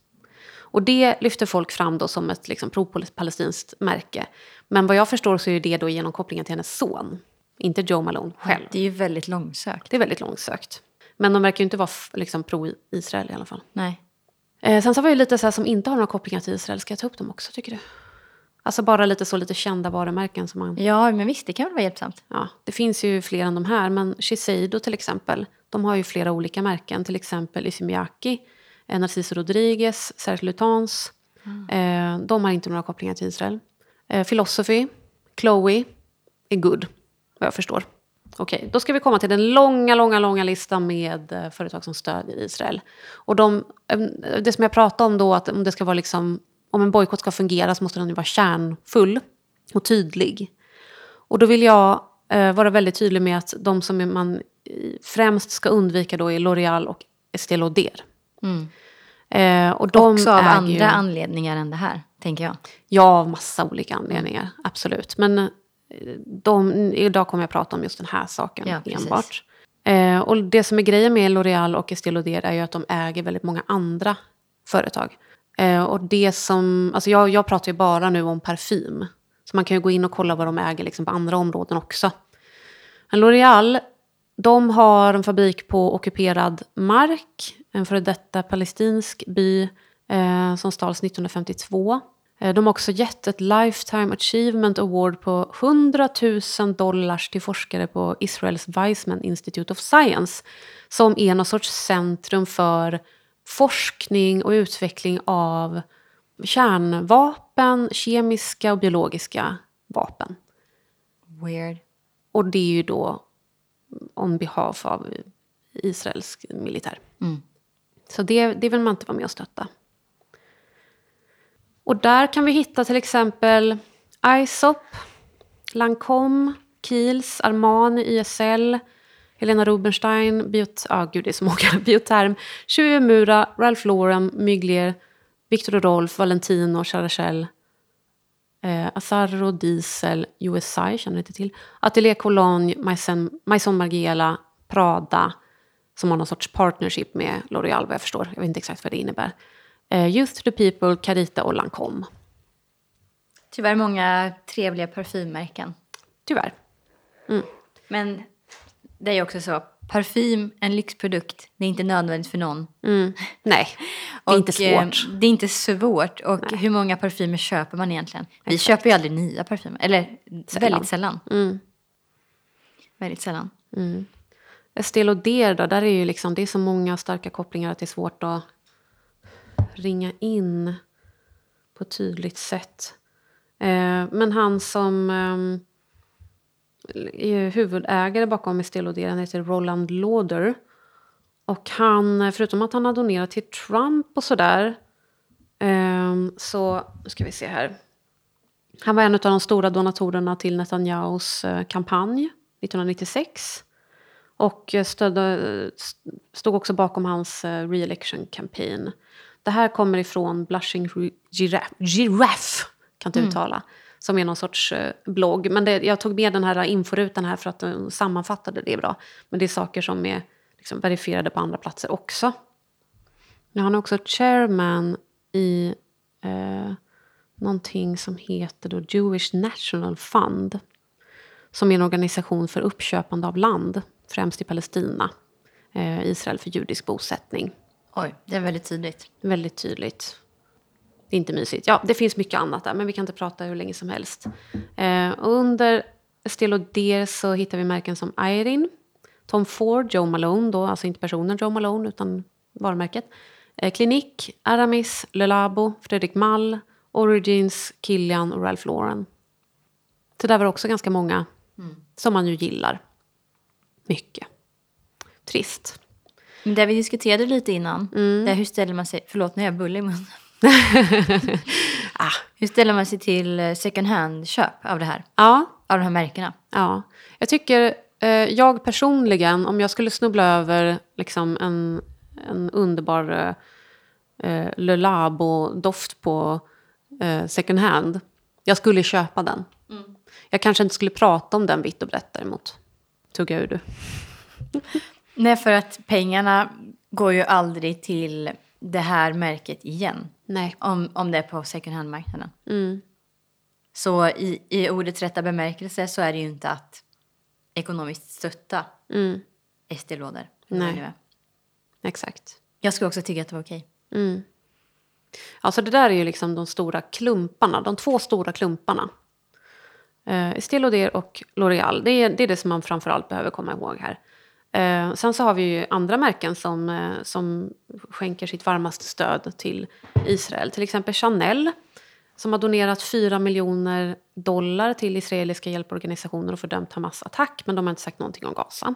[SPEAKER 1] Och det lyfter folk fram då som ett liksom, pro-palestinskt märke. Men vad jag förstår så är det då genom kopplingen till hennes son. Inte Joe Malone själv.
[SPEAKER 2] Det är ju väldigt långsökt.
[SPEAKER 1] Det är väldigt långsökt. Men de verkar ju inte vara f- liksom, pro-Israel i alla fall.
[SPEAKER 2] Nej.
[SPEAKER 1] Eh, sen så var det ju lite så här som inte har några kopplingar till Israel. Ska jag ta upp dem också, tycker du? Alltså bara lite så, lite kända varumärken som man...
[SPEAKER 2] Ja, men visst, det kan väl vara hjälpsamt.
[SPEAKER 1] Ja, det finns ju fler än de här, men Shiseido till exempel. De har ju flera olika märken, till exempel Isimiyaki, eh, Narciso Rodriguez, Serge Lutens. Eh, de har inte några kopplingar till Israel. Eh, Philosophy, Chloe, är good, vad jag förstår. Okej, då ska vi komma till den långa, långa, långa listan med eh, företag som stödjer Israel. Och de, eh, det som jag pratade om då, att om det ska vara liksom, om en bojkott ska fungera så måste den ju vara kärnfull och tydlig. Och då vill jag eh, vara väldigt tydlig med att de som man i- främst ska undvika då är L'Oreal och Estée Lauder.
[SPEAKER 2] Mm.
[SPEAKER 1] Eh, och de
[SPEAKER 2] Också av
[SPEAKER 1] äger
[SPEAKER 2] andra
[SPEAKER 1] ju-
[SPEAKER 2] anledningar än det här, tänker jag.
[SPEAKER 1] Ja, av massa olika anledningar. Absolut. Men eh, de, idag kommer jag prata om just den här saken
[SPEAKER 2] Ja, precis.
[SPEAKER 1] enbart. Eh, och det som är grejen med L'Oreal och Estée Lauder är ju att de äger väldigt många andra företag. Eh, och det som, alltså jag, jag pratar ju bara nu om parfym. Så man kan ju gå in och kolla vad de äger liksom på andra områden också. Men L'Oreal, de har en fabrik på ockuperad mark, en före detta palestinsk by eh, som stals 1952. Eh, de har också gett ett Lifetime Achievement Award på 100 000 dollars till forskare på Israels Weizmann Institute of Science, som är någon sorts centrum för forskning och utveckling av kärnvapen, kemiska och biologiska vapen.
[SPEAKER 2] Weird.
[SPEAKER 1] Och det är ju då on behalf av israelsk militär.
[SPEAKER 2] Mm.
[SPEAKER 1] Så det, det vill man inte vara med och stötta. Och där kan vi hitta till exempel Aesop, Lancome, Kiehl's, Armani, YSL, Helena Rubinstein, Biot- ah, gud, det är så många, *laughs* Bioterm, Tjuve Mura, Ralph Lauren, Mygler, Victor och Rolf, Valentino, Charachel, eh, Azarro, Diesel, USI, känner jag inte till, Atelier Cologne, Maison, Maison Margiela, Prada, som har någon sorts partnership med L'Oreal vad jag förstår. Jag vet inte exakt vad det innebär. Eh, Youth to the People, Carita och Lancome.
[SPEAKER 2] Tyvärr många trevliga parfymmärken.
[SPEAKER 1] Tyvärr.
[SPEAKER 2] Mm. Men det är ju också så, parfym, en lyxprodukt, det är inte nödvändigt för någon. *laughs*
[SPEAKER 1] Mm. Nej, det är inte
[SPEAKER 2] Och, eh,
[SPEAKER 1] svårt.
[SPEAKER 2] Det är inte svårt. Och hur många parfymer köper man egentligen? Vi köper ju aldrig nya parfymer. Eller väldigt sällan.
[SPEAKER 1] Mm.
[SPEAKER 2] Väldigt sällan.
[SPEAKER 1] Estée Lauder då, där är ju liksom, det är så många starka kopplingar att det är svårt att ringa in på ett tydligt sätt. Eh, men han som eh, är huvudägare bakom Estée Lauder, han heter Roland Lauder. Och han, förutom att han har donerat till Trump och sådär, eh, så, nu ska vi se här. Han var en av de stora donatorerna till Netanyahus eh, kampanj 1996. Och eh, stödde, st- stod också bakom hans eh, re-election campaign. Det här kommer ifrån Blushing Ru- Giraffe, Giraffe kan inte uttala, som är någon sorts eh, blogg. Men det, jag tog med den här inforutan här för att den sammanfattade det bra. Men det är saker som är liksom, verifierade på andra platser också. Ja, han är också chairman i eh, någonting som heter då Jewish National Fund. Som är en organisation för uppköpande av land, främst i Palestina. Eh, Israel för judisk bosättning.
[SPEAKER 2] Oj, det är väldigt tydligt.
[SPEAKER 1] Väldigt tydligt. Det är inte mysigt. Ja, det finns mycket annat där, men vi kan inte prata hur länge som helst. Eh, och under Estée Lauder så hittar vi märken som Irene, Tom Ford, Joe Malone, då, alltså inte personen Joe Malone, utan varumärket. Eh, Clinique, Aramis, Le Labo, Fredrik Mall, Origins, Kilian och Ralph Lauren. Så där var det också ganska många Som man ju gillar. Mycket. Trist.
[SPEAKER 2] Men det vi diskuterade lite innan, det är hur ställer man sig... Förlåt, nu är jag bull i munnen. *laughs*
[SPEAKER 1] Ah,
[SPEAKER 2] Hur ställer man sig till eh, second hand-köp av det här?
[SPEAKER 1] ja,
[SPEAKER 2] Av de här märkena?
[SPEAKER 1] Ja, jag tycker, eh, jag personligen, om jag skulle snubbla över liksom en, en underbar eh, eh, Le Labo-doft på eh, second hand, jag skulle köpa den. Jag kanske inte skulle prata om den vitt och brett däremot. Tugga ur du.
[SPEAKER 2] Nej, för att pengarna går ju aldrig till det här märket igen.
[SPEAKER 1] Nej.
[SPEAKER 2] Om, om det är på second hand-marknaden.
[SPEAKER 1] Mm.
[SPEAKER 2] Så i, i ordets rätta bemärkelse så är det ju inte att ekonomiskt stötta
[SPEAKER 1] Mm.
[SPEAKER 2] ST-lådor.
[SPEAKER 1] Nej. Exakt.
[SPEAKER 2] Jag skulle också tycka att det var okej.
[SPEAKER 1] Mm. Alltså det där är ju liksom de stora klumparna, de två stora klumparna. Eh, Estée Lauder och L'Oreal, det är, det är det som man framförallt behöver komma ihåg här. Eh, sen så har vi ju andra märken som, eh, som skänker sitt varmaste stöd till Israel. Till exempel Chanel som har donerat 4 miljoner dollar till israeliska hjälporganisationer och fördömt Hamas attack, men de har inte sagt någonting om Gaza.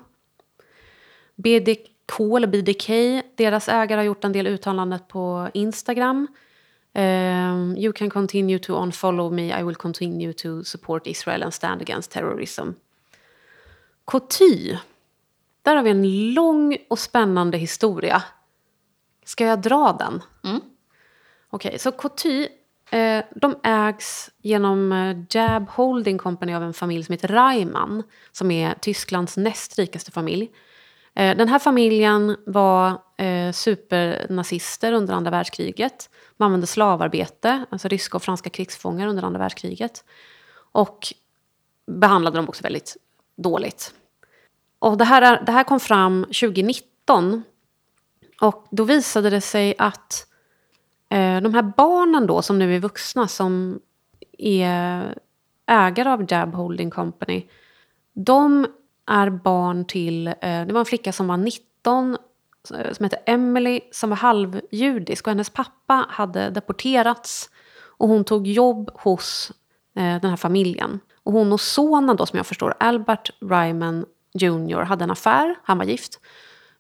[SPEAKER 1] BDK, eller BDK, deras ägare har gjort en del uttalanden på Instagram. Ehm, you can continue to unfollow me, I will continue to support Israel and stand against terrorism. Coty. Där har vi en lång och spännande historia. Ska jag dra den?
[SPEAKER 2] Mm.
[SPEAKER 1] Okej, så Coty, eh, de ägs genom eh, Jab Holding Company av en familj som heter Reimann, som är Tysklands näst rikaste familj. Eh, den här familjen var eh, supernazister under andra världskriget. De använde slavarbete, alltså ryska och franska krigsfångar under andra världskriget. Och behandlade dem också väldigt dåligt. Och det här, är, det här kom fram 2019. Och då visade det sig att Eh, de här barnen då, som nu är vuxna, som är ägare av Jab Holding Company, de är barn till... Eh, det var en flicka som var 19, eh, som hette Emily, som var halvjudisk. Och hennes pappa hade deporterats och hon tog jobb hos eh, den här familjen. Och hon och sonen då, som jag förstår, Albert Ryman Jr, hade en affär. Han var gift.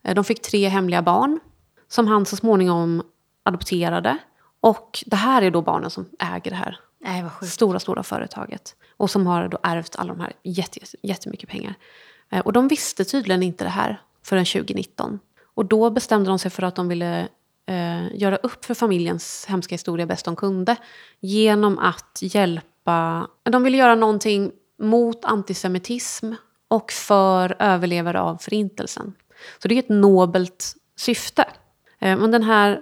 [SPEAKER 1] Eh, De fick tre hemliga barn som han så småningom adopterade. Och det här är då barnen som äger det här
[SPEAKER 2] Nej, vad sjukt.
[SPEAKER 1] stora, stora företaget. Och som har då ärvt alla de här jätte, jätte- jättemycket pengar. Eh, Och de visste tydligen inte det här förrän 2019. Och då bestämde de sig för att de ville eh, göra upp för familjens hemska historia bäst de kunde. Genom att hjälpa... De ville göra någonting mot antisemitism och för överlevare av förintelsen. Så det är ett nobelt syfte. Eh, Men den här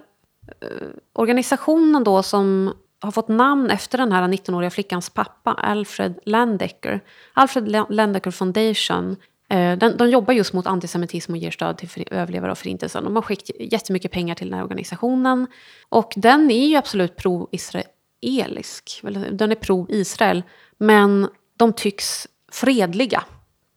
[SPEAKER 1] organisationen då som har fått namn efter den här 19-åriga flickans pappa, Alfred Landecker. Alfred La- Landecker Foundation. eh, Den, de jobbar just mot antisemitism och ger stöd till för- överlevare av Förintelsen. De har skickat jättemycket pengar till den här organisationen. Och den är ju absolut pro-israelisk. eller Den är pro-Israel. Men de tycks fredliga.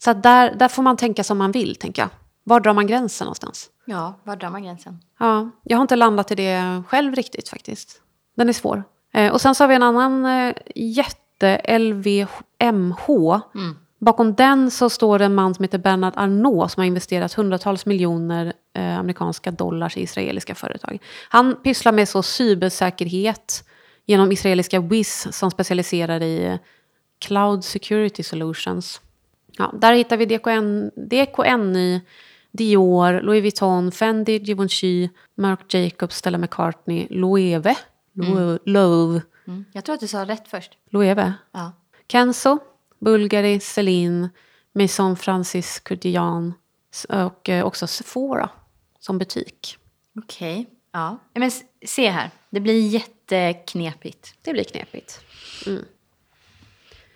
[SPEAKER 1] Så att där, där får man tänka som man vill, tänker jag. Var drar man gränsen någonstans?
[SPEAKER 2] Ja, var drar man gränsen?
[SPEAKER 1] Ja, jag har inte landat i det själv riktigt faktiskt. Den är svår. Eh, och sen så har vi en annan eh, jätte, LVMH.
[SPEAKER 2] Mm.
[SPEAKER 1] Bakom den så står det en man som heter Bernard Arnault som har investerat hundratals miljoner eh, amerikanska dollars i israeliska företag. Han pysslar med så cybersäkerhet genom israeliska Wiz som specialiserar i eh, cloud security solutions. Ja, där hittar vi DKN, DKNY, Dior, Louis Vuitton, Fendi, Givenchy, Marc Jacobs, Stella McCartney, Loewe, Loewe, Loewe,
[SPEAKER 2] Mm. Jag tror att du sa rätt först.
[SPEAKER 1] Loewe
[SPEAKER 2] Ja.
[SPEAKER 1] Kenzo, Bulgari, Celine, Maison Francis Kurdian s- och eh, också Sephora som butik.
[SPEAKER 2] Okej. Ja. Men s- se här, det blir jätteknepigt.
[SPEAKER 1] Det blir knepigt.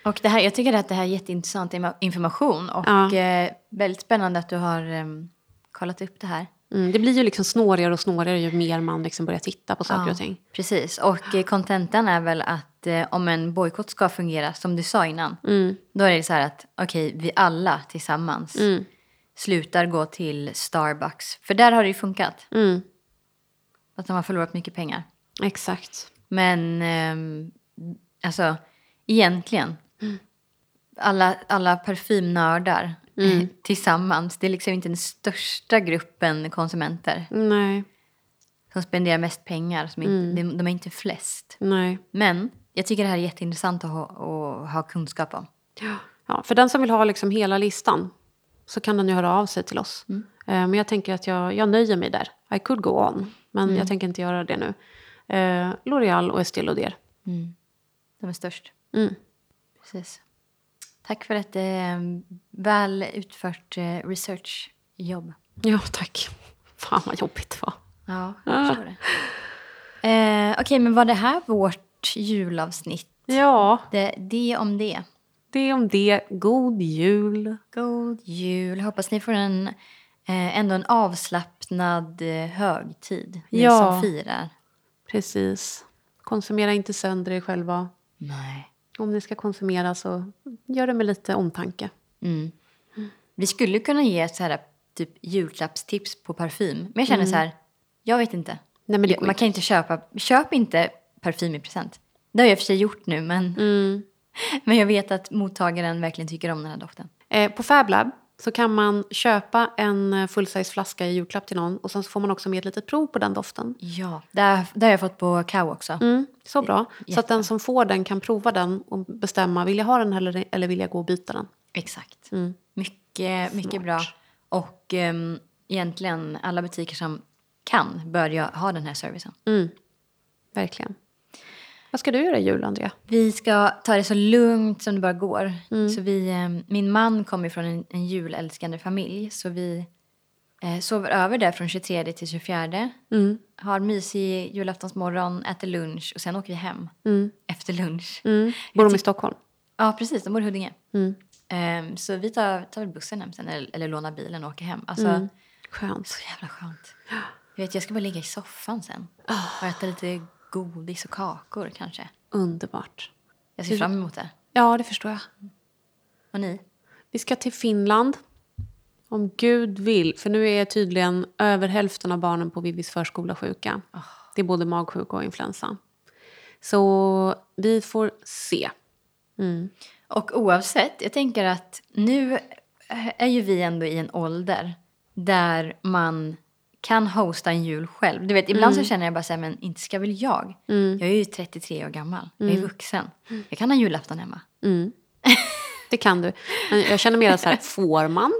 [SPEAKER 2] Och det här, jag tycker att det här är jätteintressant ima- information och
[SPEAKER 1] Ja.
[SPEAKER 2] eh, väldigt spännande att du har em, kollat upp det här.
[SPEAKER 1] Mm, det blir ju liksom snårigare och snårigare ju mer man liksom börjar titta på saker
[SPEAKER 2] Ja,
[SPEAKER 1] och ting.
[SPEAKER 2] Precis, och eh, kontentan är väl att eh, om en bojkott ska fungera, som du sa innan,
[SPEAKER 1] Mm,
[SPEAKER 2] då är det så här att okej, vi alla tillsammans
[SPEAKER 1] mm,
[SPEAKER 2] slutar gå till Starbucks. För där har det ju funkat,
[SPEAKER 1] mm,
[SPEAKER 2] att de har förlorat mycket pengar.
[SPEAKER 1] exakt.
[SPEAKER 2] Men ehm, alltså, egentligen, alla, alla parfymnördar
[SPEAKER 1] Mm.
[SPEAKER 2] *laughs* tillsammans. Det är liksom inte den största gruppen konsumenter
[SPEAKER 1] Nej,
[SPEAKER 2] som spenderar mest pengar. Som inte, de, de är inte flest.
[SPEAKER 1] nej.
[SPEAKER 2] Men jag tycker det här är jätteintressant att ha, att ha kunskap om.
[SPEAKER 1] Ja. Ja, för den som vill ha liksom hela listan så kan den ju höra av sig till oss. Eh, Men jag tänker att jag, jag nöjer mig där. I could go on, men jag tänker inte göra det nu. Eh, L'Oreal och Estée Lauder.
[SPEAKER 2] De är störst.
[SPEAKER 1] Mm.
[SPEAKER 2] Precis. Tack för ett eh, väl utfört eh, researchjobb.
[SPEAKER 1] Ja, tack. Fan vad jobbigt det var.
[SPEAKER 2] Ja, jag förstår det. Eh, Okej, men var det här vårt julavsnitt?
[SPEAKER 1] Ja,
[SPEAKER 2] Det, det om det.
[SPEAKER 1] det är om det. God jul.
[SPEAKER 2] God jul. Hoppas ni får en, eh, ändå en avslappnad eh, högtid. Ni
[SPEAKER 1] Ja.
[SPEAKER 2] som firar.
[SPEAKER 1] Precis. Konsumera inte sönder er själva.
[SPEAKER 2] Nej.
[SPEAKER 1] Om ni ska konsumera så gör det med lite omtanke.
[SPEAKER 2] Mm. Vi skulle kunna ge så här, typ, julklappstips på parfym. Men jag känner så här, jag vet inte.
[SPEAKER 1] Mm. Nej, men det går
[SPEAKER 2] Man kan inte köpa, köp inte parfym i present. Det har jag i och för sig gjort nu, men,
[SPEAKER 1] Mm.
[SPEAKER 2] men jag vet att mottagaren verkligen tycker om den här doften.
[SPEAKER 1] Eh, på Fablab så kan man köpa en eh, full-size flaska i julklapp till någon och sen så får man också med ett litet prov på den doften.
[SPEAKER 2] Ja, det har, det har jag fått på Kao också.
[SPEAKER 1] Mm, så bra. Så att den som får den kan prova den och bestämma vill jag ha den här eller, eller vill jag gå och byta den.
[SPEAKER 2] Exakt.
[SPEAKER 1] Mm.
[SPEAKER 2] Mycket, mycket bra. Och um, egentligen alla butiker som kan bör ju ha den här servicen.
[SPEAKER 1] Mm. Verkligen. Vad ska du göra i jul, Andrea?
[SPEAKER 2] Vi ska ta det så lugnt som det bara går.
[SPEAKER 1] Mm.
[SPEAKER 2] Så vi, eh, min man kommer från en, en julälskande familj så vi eh, sover över där från 23 till 24.
[SPEAKER 1] Mm.
[SPEAKER 2] Har mysig julaftonsmorgon, äter lunch och sen åker vi hem
[SPEAKER 1] Mm.
[SPEAKER 2] efter lunch.
[SPEAKER 1] Mm. Bor de i Stockholm?
[SPEAKER 2] Ja, precis. De bor i Huddinge.
[SPEAKER 1] Mm.
[SPEAKER 2] Eh, så vi tar, tar bussen hem sen eller, eller lånar bilen och åker hem. Alltså,
[SPEAKER 1] Mm. Skönt.
[SPEAKER 2] Så jävla skönt. Jag, vet, jag ska bara ligga i soffan sen och äta lite godis och kakor kanske.
[SPEAKER 1] Underbart.
[SPEAKER 2] Jag ser fram emot det.
[SPEAKER 1] Ja, det förstår jag.
[SPEAKER 2] Och ni?
[SPEAKER 1] Vi ska till Finland. Om Gud vill. För nu är tydligen över hälften av barnen på Vivis förskola sjuka. Det är både magsjuka och influensa. Så vi får se. Mm.
[SPEAKER 2] Och oavsett, jag tänker att nu är ju vi ändå i en ålder där man kan hosta en jul själv. Du vet, ibland
[SPEAKER 1] Mm.
[SPEAKER 2] så känner jag bara så här, men inte ska väl jag? Jag är ju 33 år gammal, jag är vuxen. Jag kan ha julafton hemma.
[SPEAKER 1] Mm. Det kan du. Men jag känner mer så här, får man?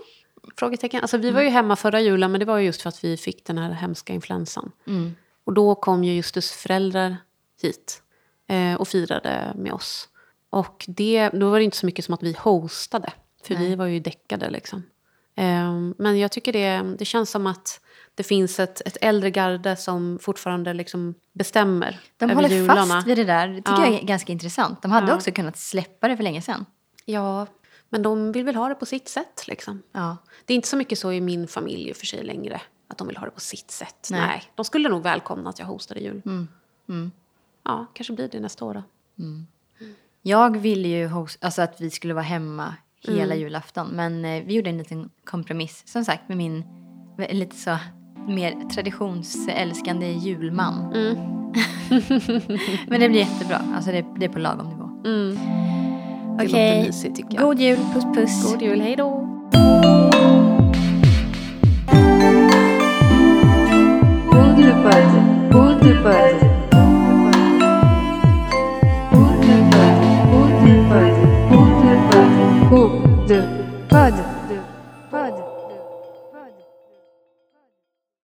[SPEAKER 1] Frågetecken. Alltså, vi var ju hemma förra julen, men det var ju just för att vi fick den här hemska influensan.
[SPEAKER 2] Mm.
[SPEAKER 1] Och då kom ju Justus föräldrar hit eh, och firade med oss. Och det, då var det inte så mycket som att vi hostade, för vi var ju däckade. Liksom. Eh, men jag tycker det, det känns som att det finns ett, ett äldre garde som fortfarande liksom bestämmer
[SPEAKER 2] De
[SPEAKER 1] över
[SPEAKER 2] håller
[SPEAKER 1] jularna.
[SPEAKER 2] fast vid det där, det tycker
[SPEAKER 1] Ja.
[SPEAKER 2] jag är ganska intressant. De hade också kunnat släppa det för länge sedan.
[SPEAKER 1] Ja, men de vill väl ha det på sitt sätt. Liksom.
[SPEAKER 2] Ja.
[SPEAKER 1] Det är inte så mycket så i min familj i och för sig längre. Att de vill ha det på sitt sätt.
[SPEAKER 2] Nej.
[SPEAKER 1] Nej. De skulle nog välkomna att jag hostade jul.
[SPEAKER 2] Mm. Mm.
[SPEAKER 1] Ja, kanske blir det nästa år då.
[SPEAKER 2] Jag ville ju host, alltså att vi skulle vara hemma hela julafton. Men eh, vi gjorde en liten kompromiss. Som sagt med min med lite så mer traditionsälskande julman.
[SPEAKER 1] Mm.
[SPEAKER 2] men det blir jättebra. Alltså det, det är på lagom nivå.
[SPEAKER 1] Det
[SPEAKER 2] Okej.
[SPEAKER 1] låter mysigt tycker jag.
[SPEAKER 2] God jul, puss puss.
[SPEAKER 1] God jul, hej då!
[SPEAKER 3] Underbud. Underbud. Underbud. Underbud. Underbud. Underbud.